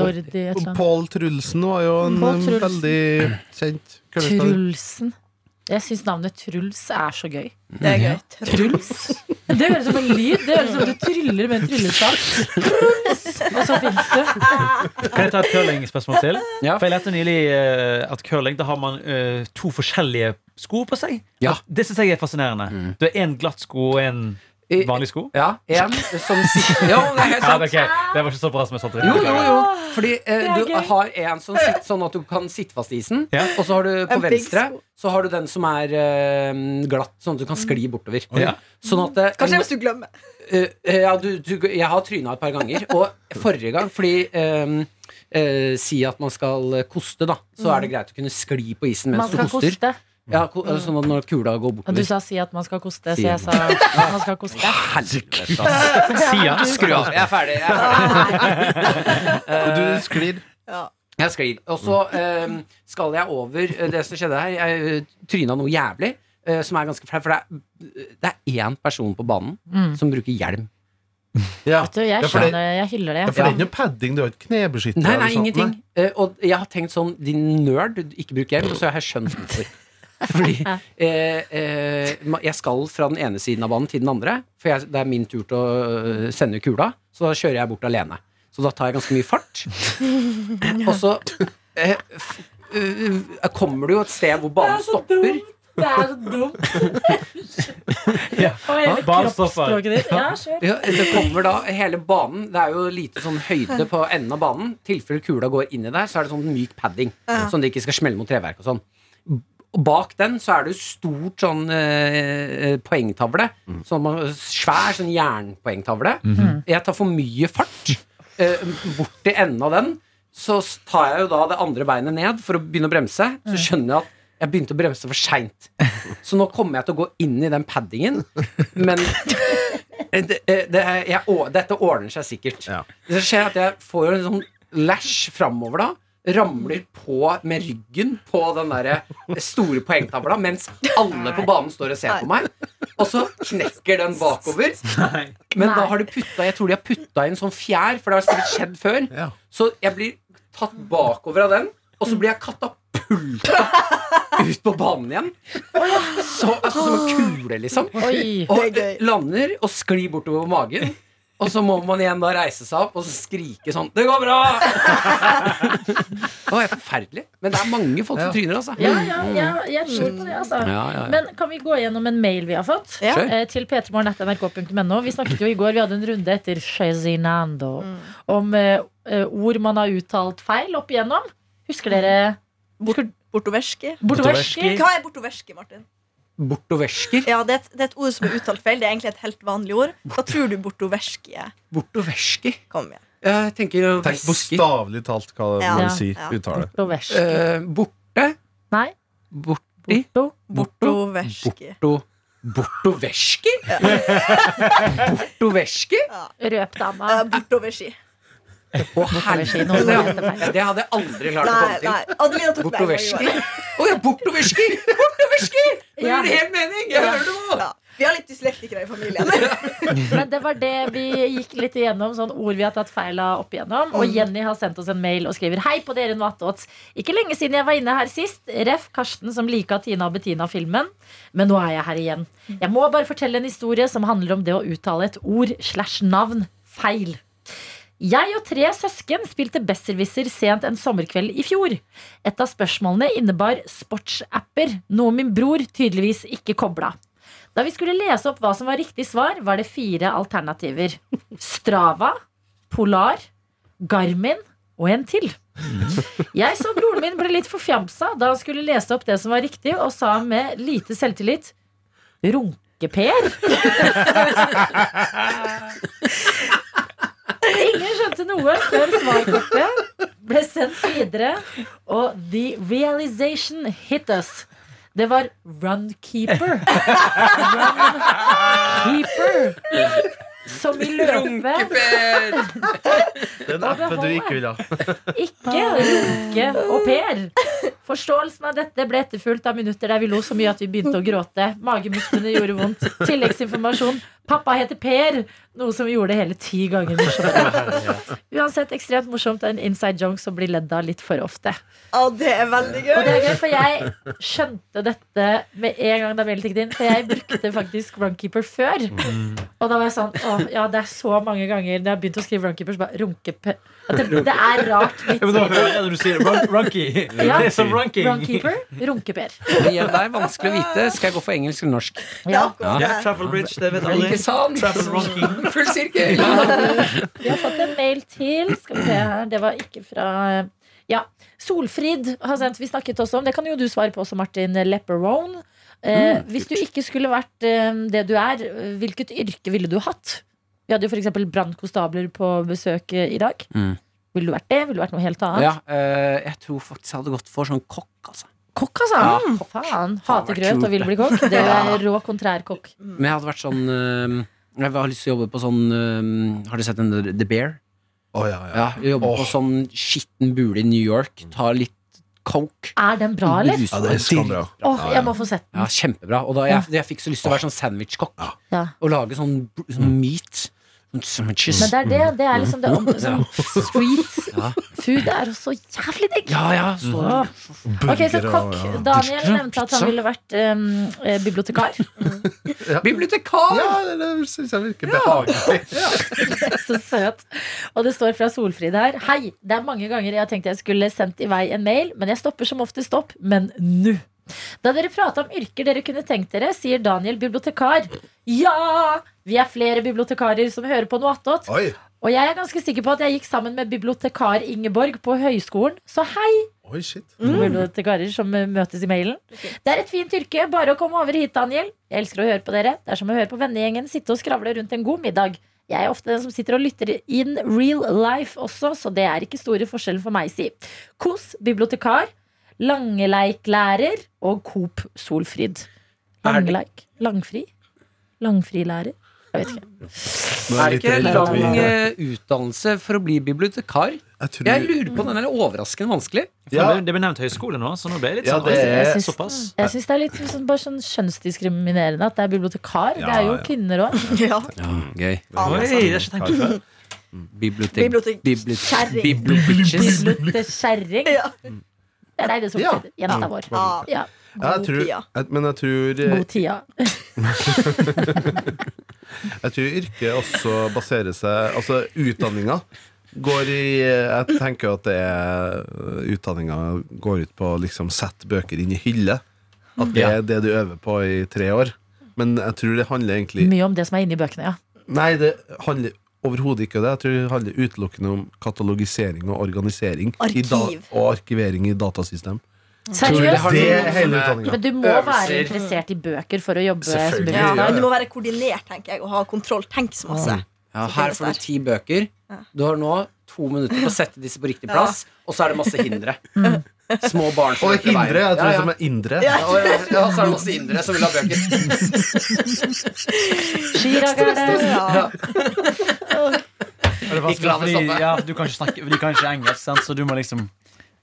Speaker 2: Dordi et eller annet.
Speaker 5: Pål Trulsen var jo en
Speaker 2: Pål
Speaker 5: um,
Speaker 2: Trulsen.
Speaker 5: veldig kjent curlingspiller.
Speaker 2: Trulsen. Jeg syns navnet Truls er så gøy.
Speaker 4: Det er gøy.
Speaker 6: Mm.
Speaker 2: Truls? Det høres som en lyd. Det høres som du tryller med en tryllestav. Truls! Og så fins du.
Speaker 6: Kan jeg ta et curlingspørsmål til?
Speaker 3: Ja.
Speaker 6: For jeg lærte nylig eh, at curling, da har man eh, to forskjellige sko på seg.
Speaker 3: Ja. Mm.
Speaker 6: At Det syns jeg er fascinerende. Du har én glatt sko og én
Speaker 3: I-
Speaker 6: vanlig sko.
Speaker 3: Ja, en som sitter Ja, men det er helt
Speaker 6: Ja,
Speaker 3: sant.
Speaker 6: det, er ok. det var ikke så bra som jeg sa.
Speaker 3: Jo, jo, jo. Fordi eh,
Speaker 2: er
Speaker 3: du
Speaker 2: gøy.
Speaker 3: har en som sitter sånn at du kan sitte fast i isen.
Speaker 6: Ja.
Speaker 3: Og så har du på
Speaker 4: En big
Speaker 3: venstre Så har du den som er eh, glatt, sånn at du kan skli bortover.
Speaker 6: Ja.
Speaker 3: Sånn at eh,
Speaker 4: Kanskje hvis du glemmer.
Speaker 3: Eh, eh, ja, du, du, jeg har tryna et par ganger. Og forrige gang, fordi ehm, eh, Si at man skal eh, koste, da. Så er det greit å kunne skli på isen
Speaker 2: Mm. Man
Speaker 3: mens du
Speaker 2: skal
Speaker 3: koster.
Speaker 2: koste.
Speaker 3: Ja, ko eh, sånn at når kula går
Speaker 2: Og du
Speaker 3: bortover.
Speaker 2: sa si at man skal koste, så
Speaker 3: Si.
Speaker 2: jeg sa at man skal koste.
Speaker 3: Herregud,
Speaker 6: Sian.
Speaker 3: Skru av. Jeg er ferdig. Jeg, er ferdig.
Speaker 2: Ah.
Speaker 5: Og du sklir.
Speaker 3: jeg sklir. Og så ehm, skal jeg over eh, det som skjedde her. Jeg eh, tryna noe jævlig. eh, som er ganske flaut, for det er, det er én person på banen
Speaker 2: Mm.
Speaker 3: som bruker hjelm.
Speaker 5: Ja.
Speaker 2: Vet du, jeg
Speaker 5: Ja, for det-
Speaker 2: skjønner, jeg hyller
Speaker 5: Ja,
Speaker 2: det.
Speaker 5: for det er ikke noe padding, du har ikke knebeskytter
Speaker 3: Nei,
Speaker 5: eller
Speaker 3: nei,
Speaker 5: sånt,
Speaker 3: ingenting. Eh, og jeg har tenkt sånn, din nerd, du ikke bruk hjelm, og så har jeg skjønt hvorfor. Fordi eh, eh, ma- jeg skal fra den ene siden av banen til den andre, for jeg, det er min tur til å øh, sende kula, så da kjører jeg bort alene. Så da tar jeg ganske mye fart. og så eh, f- øh, kommer du jo et sted hvor banen stopper.
Speaker 2: Det er så dumt. Og hele
Speaker 6: Bare stopper.
Speaker 2: kroppsspråket ditt. Ja, kjør.
Speaker 3: Ja, det kommer da hele banen Det er jo lite sånn høyde på enden av banen. I tilfelle kula går inn i der, så er det sånn myk padding. Sånn at det ikke skal smelle mot treverk og sånn. Og bak den så er det jo stort sånn eh, eh, poengtavle. Sånn, man- svær sånn jernpoengtavle. Mm. Jeg tar for mye fart eh, bort til enden av den. Så s- tar jeg jo da det andre beinet ned for å begynne å bremse. Så skjønner jeg at Jeg begynte å bremse for seint. Så nå kommer jeg til å gå inn i den paddingen, men Eh, det, det, jeg, å- Dette ordner seg sikkert.
Speaker 5: Ja.
Speaker 3: Det skjer at jeg får jo en sånn lash framover da. Ramler på med ryggen på den der eh, store poengtavla mens alle på banen står og ser på meg. Og så knekker den bakover. Men da har de putta Jeg tror de har putta inn sånn fjær, for det har sikkert skjedd før.
Speaker 5: Ja.
Speaker 3: Så jeg blir tatt bakover av den, og så blir jeg katapulta ut på banen igjen. Så, altså, som en kule, liksom.
Speaker 2: Oi.
Speaker 3: Og
Speaker 4: Det er gøy.
Speaker 3: lander og sklir bortover magen. Og så må man igjen da reise seg opp og så skrike sånn 'Det går bra!' det var helt forferdelig. Men det er mange folk som tryner, altså.
Speaker 2: Ja, ja, ja, jeg tror på det, altså.
Speaker 3: Ja, ja, ja.
Speaker 2: Men kan vi gå gjennom en mail vi har fått?
Speaker 4: Ja.
Speaker 3: Kjør.
Speaker 2: Eh, Til p3morgen.nrk.no. Vi snakket jo i går, vi hadde en runde etter Chezinando om eh, eh, ord man har uttalt feil opp igjennom. Husker dere husker,
Speaker 4: Bortoverski.
Speaker 2: Bortoverski?
Speaker 4: Hva er bortoverski, Martin?
Speaker 3: Bortoversker.
Speaker 4: Ja, det er, et, det er et ord som er uttalt feil. Det er egentlig et helt vanlig ord. Hva tror du bortoverski er?
Speaker 3: Bortoversker.
Speaker 4: Kom igjen.
Speaker 3: Jeg tenker å
Speaker 5: Tenk
Speaker 3: væske.
Speaker 5: bokstavelig talt hva
Speaker 4: Ja.
Speaker 5: man sier.
Speaker 4: Ja.
Speaker 5: Uttale.
Speaker 2: Bortoverski.
Speaker 3: Eh, borte.
Speaker 2: Nei,
Speaker 3: Borti.
Speaker 2: borto.
Speaker 3: Borto.
Speaker 4: Bortoverski.
Speaker 3: Borto. Bortoversker? Bortoversker?
Speaker 2: Røp dama.
Speaker 4: Eh, bortoverski.
Speaker 3: Å,
Speaker 2: Bortoverski.
Speaker 3: herregud.
Speaker 2: Nå
Speaker 3: Det,
Speaker 2: er det feil.
Speaker 3: det hadde jeg aldri klart å
Speaker 4: Nei,
Speaker 3: komme til.
Speaker 4: nei. Adelina tok meg.
Speaker 3: Bortoverski? Å ja, bortoverski! Bortoverski! Det
Speaker 2: Ja.
Speaker 3: gjør helt mening! Jeg hører det nå!
Speaker 4: Ja. Vi har litt dyslektikere i familien.
Speaker 2: Men det var det vi gikk litt igjennom, sånn ord vi har tatt feil av opp igjennom. Og Jenny har sendt oss en mail og skriver Hei på dere, Noatots. Ikke lenge siden jeg var inne her sist. Ref. Karsten som lika Tina og Bettina-filmen. Men nå er jeg her igjen. Jeg må bare fortelle en historie som handler om det å uttale et ord slash navn feil. Jeg og tre søsken spilte Besserwisser sent en sommerkveld i fjor. Et av spørsmålene innebar sportsapper, noe min bror tydeligvis ikke kobla. Da vi skulle lese opp hva som var riktig svar, var det fire alternativer. Strava, Polar, Garmin og en til. Jeg så broren min ble litt forfjamsa da han skulle lese opp det som var riktig, og sa med lite selvtillit Runkeper? Ingen skjønte noe før svarkortet ble sendt videre, og the realization hit us. Det var runkeeper. Runkeeper. Som i løpe
Speaker 5: Den
Speaker 2: appen du ikke
Speaker 5: vil ha.
Speaker 2: ikke runke og Per. Forståelsen av dette ble etterfulgt av minutter der vi lo så mye at vi begynte å gråte. Magemusklene gjorde vondt. Tilleggsinformasjon. Pappa heter Per, noe som vi gjorde hele ti ganger morsommere. Uansett ekstremt morsomt og en inside joke som blir ledd av litt for ofte.
Speaker 4: Å, det er veldig gøy.
Speaker 2: Og det er gøy, for jeg skjønte dette med en gang da mailen tikket inn. For jeg brukte faktisk Runkeeper før. Og da var jeg sånn Å, ja, det er så mange ganger når jeg har begynt å skrive Runkeeper, så bare runkepe... At det, det er rart. Litt,
Speaker 6: men da hører jeg når du sier det. Run- Runky.
Speaker 2: Ja.
Speaker 6: Det er som runking.
Speaker 2: Runkeeper, runkeper.
Speaker 3: Men igjen, Det er vanskelig å vite. Skal jeg gå for engelsk eller norsk?
Speaker 4: Det er akkurat
Speaker 6: Ja,
Speaker 4: det.
Speaker 6: travel bridge, det vet alle.
Speaker 3: Ikke sant?
Speaker 6: Travel runking.
Speaker 3: Full sirkel!
Speaker 2: Vi har fått en mail til. Skal vi se her. Det var ikke fra eh, Ja. Solfrid har sendt. Vi snakket også om Det kan jo du svare på også, Martin Lepperone. Eh,
Speaker 3: Mm,
Speaker 2: hvis du ikke skulle vært eh, det du er, eh, hvilket yrke ville du hatt? Vi hadde jo f.eks. brannkonstabler på besøk eh, i dag.
Speaker 3: Mm.
Speaker 2: Ville du vært det? Ville du vært noe helt annet?
Speaker 3: Ja, eh, jeg tror faktisk jeg hadde gått for sånn kokk, altså.
Speaker 2: Kokk, altså!
Speaker 3: Ja,
Speaker 2: Mm, Faen. Hater
Speaker 3: vært
Speaker 2: grøt
Speaker 3: kult,
Speaker 2: og vil bli kokk. Det er rå kontrærkokk.
Speaker 3: Men jeg hadde vært sånn eh, Jeg har lyst til å jobbe på sånn eh, Har du sett den der The Bear?
Speaker 5: Å, ja, ja.
Speaker 3: Ja, Jobbe
Speaker 5: Åh.
Speaker 3: på sånn skitten bule i New York, ta litt coke.
Speaker 2: Er den bra, eller?
Speaker 3: ruse
Speaker 5: ja,
Speaker 3: meg.
Speaker 5: det er skambra.
Speaker 2: Åh, jeg må få sett
Speaker 3: Ja,
Speaker 2: den.
Speaker 3: kjempebra. Og da, jeg, jeg fikk så lyst til å være sånn sandwichkokk.
Speaker 2: Ja.
Speaker 3: Og lage sånn, br- sånn meat. Sånn sandwiches.
Speaker 2: Men det er det. Det er liksom det sånn, Street
Speaker 3: Mm. Ja.
Speaker 2: food er også jævlig digg.
Speaker 3: Ja, ja. Så,
Speaker 2: Åh. Ok, så
Speaker 5: Burger og-
Speaker 2: kokk.
Speaker 5: ja.
Speaker 2: Daniel nevnte at han ville vært em, eh, bibliotekar.
Speaker 3: Bibliotekar!
Speaker 5: Ja, det, det syns jeg virker behagelig.
Speaker 2: Så søt. Og det står fra Solfrid her. Hei! Det er mange ganger jeg har tenkt jeg skulle sendt i vei en mail, men jeg stopper som oftest opp. Men nå! Da dere prata om yrker dere kunne tenkt dere, sier Daniel bibliotekar. Ja! Vi er flere bibliotekarer som hører på noe attåt.
Speaker 5: Oi.
Speaker 2: Og jeg er ganske sikker på at jeg gikk sammen med bibliotekar Ingeborg på høyskolen, så hei!
Speaker 5: Oi, shit.
Speaker 2: bibliotekarer som eh, møtes i mailen. Det er et fint yrke. Bare å komme over hit, Daniel. Jeg elsker å høre på dere. Det er som å høre på vennegjengen sitte og skravle rundt en god middag. Jeg er ofte den som sitter og lytter in real life også, så det er ikke store forskjellen for meg, si. Kos bibliotekar. Langeleiklærer og Coop Solfrid. Langeleik. Langfri. Langfrilærer. Jeg vet ikke.
Speaker 5: Nå
Speaker 3: Er det
Speaker 5: jeg
Speaker 3: ikke
Speaker 5: litt redd for at
Speaker 3: lang
Speaker 5: vi-
Speaker 3: eh, utdannelse for å bli bibliotekar?
Speaker 5: Jeg tror-
Speaker 3: Jeg lurer på, den er overraskende vanskelig.
Speaker 5: Ja.
Speaker 6: Det ble nevnt høyskole nå, så nå ble jeg litt
Speaker 5: Ja,
Speaker 6: sånn
Speaker 5: det
Speaker 6: «Oi,
Speaker 5: er-
Speaker 2: Jeg
Speaker 6: Såpass.
Speaker 2: syns, jeg syns det er litt sånn, bare sånn kjønnsdiskriminerende at det er bibliotekar. det er jo
Speaker 5: Ja, ja.
Speaker 2: kvinner òg.
Speaker 4: Ja. altså.
Speaker 6: Oi,
Speaker 3: gøy.
Speaker 6: det har jeg ikke tenkt på før.
Speaker 3: Bibliotek...
Speaker 4: Bibliotek. Kjerring.
Speaker 3: Biblioteks.
Speaker 2: Bibliotekskjerring.
Speaker 4: Ja.
Speaker 2: Det er deg det som
Speaker 5: Ja.
Speaker 2: heter. Jenta vår.
Speaker 4: Ja. Eh,
Speaker 2: Ja.
Speaker 5: Ja, jeg
Speaker 4: God
Speaker 5: tror,
Speaker 4: tida.
Speaker 5: jeg, men jeg tror, eh,
Speaker 2: God tida.
Speaker 5: jeg tror yrket også baserer seg Altså utdanninga går i Jeg tenker at det er utdanninga går ut på å liksom sette bøker inn i hylle. At det er det du øver på i tre år. Men jeg tror det handler egentlig
Speaker 2: Mye om det som er inni bøkene, ja.
Speaker 5: Nei, det handler overhodet ikke om det. Jeg tror det handler utelukkende om katalogisering og organisering. I da,
Speaker 4: Arkiv.
Speaker 5: og arkivering i datasystem.
Speaker 2: Seriøst?
Speaker 5: Det er hele utdanninga.
Speaker 2: Men du må være interessert i bøker for å jobbe som
Speaker 5: Selvfølgelig,
Speaker 4: Ja,
Speaker 2: bibliotekar.
Speaker 4: men du må være koordinert, tenker jeg, og ha kontroll. Tenk så masse.
Speaker 3: Ja, her får du ti bøker. Du har nå to minutter på å sette disse på riktig plass, og så er det masse hindre. Små barn som
Speaker 5: Og
Speaker 3: løper veien.
Speaker 5: hindre. Jeg tror
Speaker 3: Ja, ja.
Speaker 5: som er indre.
Speaker 3: Ja, og, ja, ja, så er det masse indre som vil ha bøker.
Speaker 2: Chirag er det.
Speaker 3: Ja.
Speaker 6: Er det vanskelig,
Speaker 3: Ikke la det
Speaker 6: fordi-
Speaker 3: stoppe.
Speaker 6: Ja, du kan ikke snakke Du kan ikke engelsk, sant? så du må liksom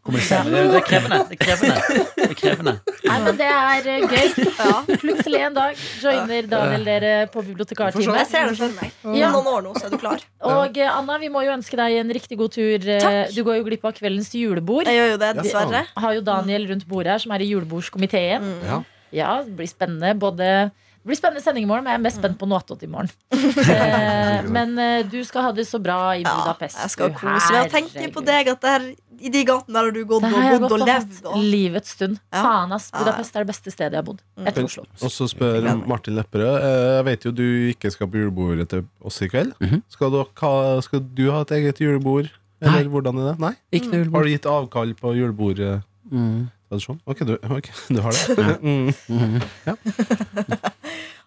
Speaker 6: kommunisere. Det, det er krevende. Det er krevende. Det er krevende.
Speaker 2: Nei, men det er eh, gøy.
Speaker 4: Ja.
Speaker 2: Plutselig en dag joiner Daniel dere på bibliotekartime.
Speaker 4: Jeg ser det for meg. Om
Speaker 2: Ja.
Speaker 4: noen år nå, så er du klar.
Speaker 2: Og eh, Anna, vi må jo ønske deg en riktig god tur. Eh,
Speaker 4: Takk.
Speaker 2: Du går jo glipp av kveldens julebord.
Speaker 4: Jeg gjør jo det, dessverre.
Speaker 2: Har jo Daniel rundt bordet her, som er i julebordskomiteen.
Speaker 4: Mm.
Speaker 5: Ja.
Speaker 2: Ja, det blir spennende. Både det blir spennende sending i morgen, men jeg er mest spent på noe attåt i morgen. Eh, Men eh, du skal ha det så bra i
Speaker 4: Ja,
Speaker 2: Budapest.
Speaker 4: jeg skal
Speaker 2: du.
Speaker 4: kose meg og tenke på
Speaker 2: Herregud.
Speaker 4: deg at der, i de gatene der har du gått
Speaker 2: Der
Speaker 4: og
Speaker 2: har jeg
Speaker 4: bodd
Speaker 2: gått
Speaker 4: og
Speaker 2: og
Speaker 4: levd.
Speaker 2: hatt
Speaker 4: Og...
Speaker 2: livets stund.
Speaker 4: Ja.
Speaker 2: Faen, ass.
Speaker 4: Ja, ja.
Speaker 2: Budapest er det beste stedet jeg har bodd. Etter Oslo.
Speaker 5: Og så spør Martin Lepperød eh, Jeg vet jo du ikke skal på julebordet til oss i kveld.
Speaker 3: Mhm.
Speaker 5: skal, du ha, skal du ha et eget julebord? Eller hvordan er det? Nei? Mm.
Speaker 3: Ikke noe
Speaker 5: Har du gitt avkall på julebordtradisjonen?
Speaker 3: Mm.
Speaker 5: Ok, du, ok, du har det. mm.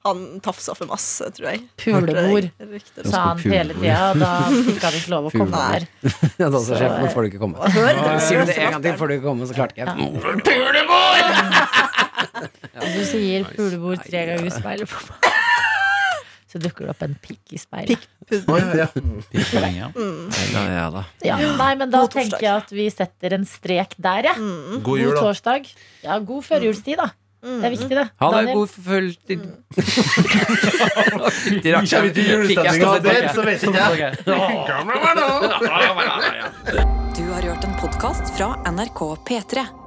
Speaker 4: Han tafsa for masse, tror jeg.
Speaker 2: Pulebord,
Speaker 4: Rykter.
Speaker 2: sa han hele tida. Da fikk han ikke lov å komme
Speaker 3: Pulebord.
Speaker 2: her.
Speaker 3: Ja, da sa sjefen, nå får du ikke komme.
Speaker 4: Jeg hører det.
Speaker 3: Sier du det en gang til, får du ikke komme, så klarte ikke jeg.
Speaker 2: Hvis du sier pulebord tre ganger i speilet på meg, så dukker det opp en pikk i speilet.
Speaker 3: Mm.
Speaker 6: Pikkering, ja.
Speaker 3: Ja, ja da.
Speaker 2: Ja. Nei, men da
Speaker 4: God torsdag.
Speaker 2: tenker jeg at vi setter en strek der, jeg.
Speaker 5: God jul,
Speaker 2: God
Speaker 5: da.
Speaker 2: torsdag. Ja, god førjulstid, da. Det er viktig, det.
Speaker 3: Ha det,
Speaker 2: Daniel,
Speaker 3: god forfølgelig De rakk seg
Speaker 5: Til julestemninga der, så vet ikke jeg.
Speaker 1: Du har hørt en podkast fra NRK P3.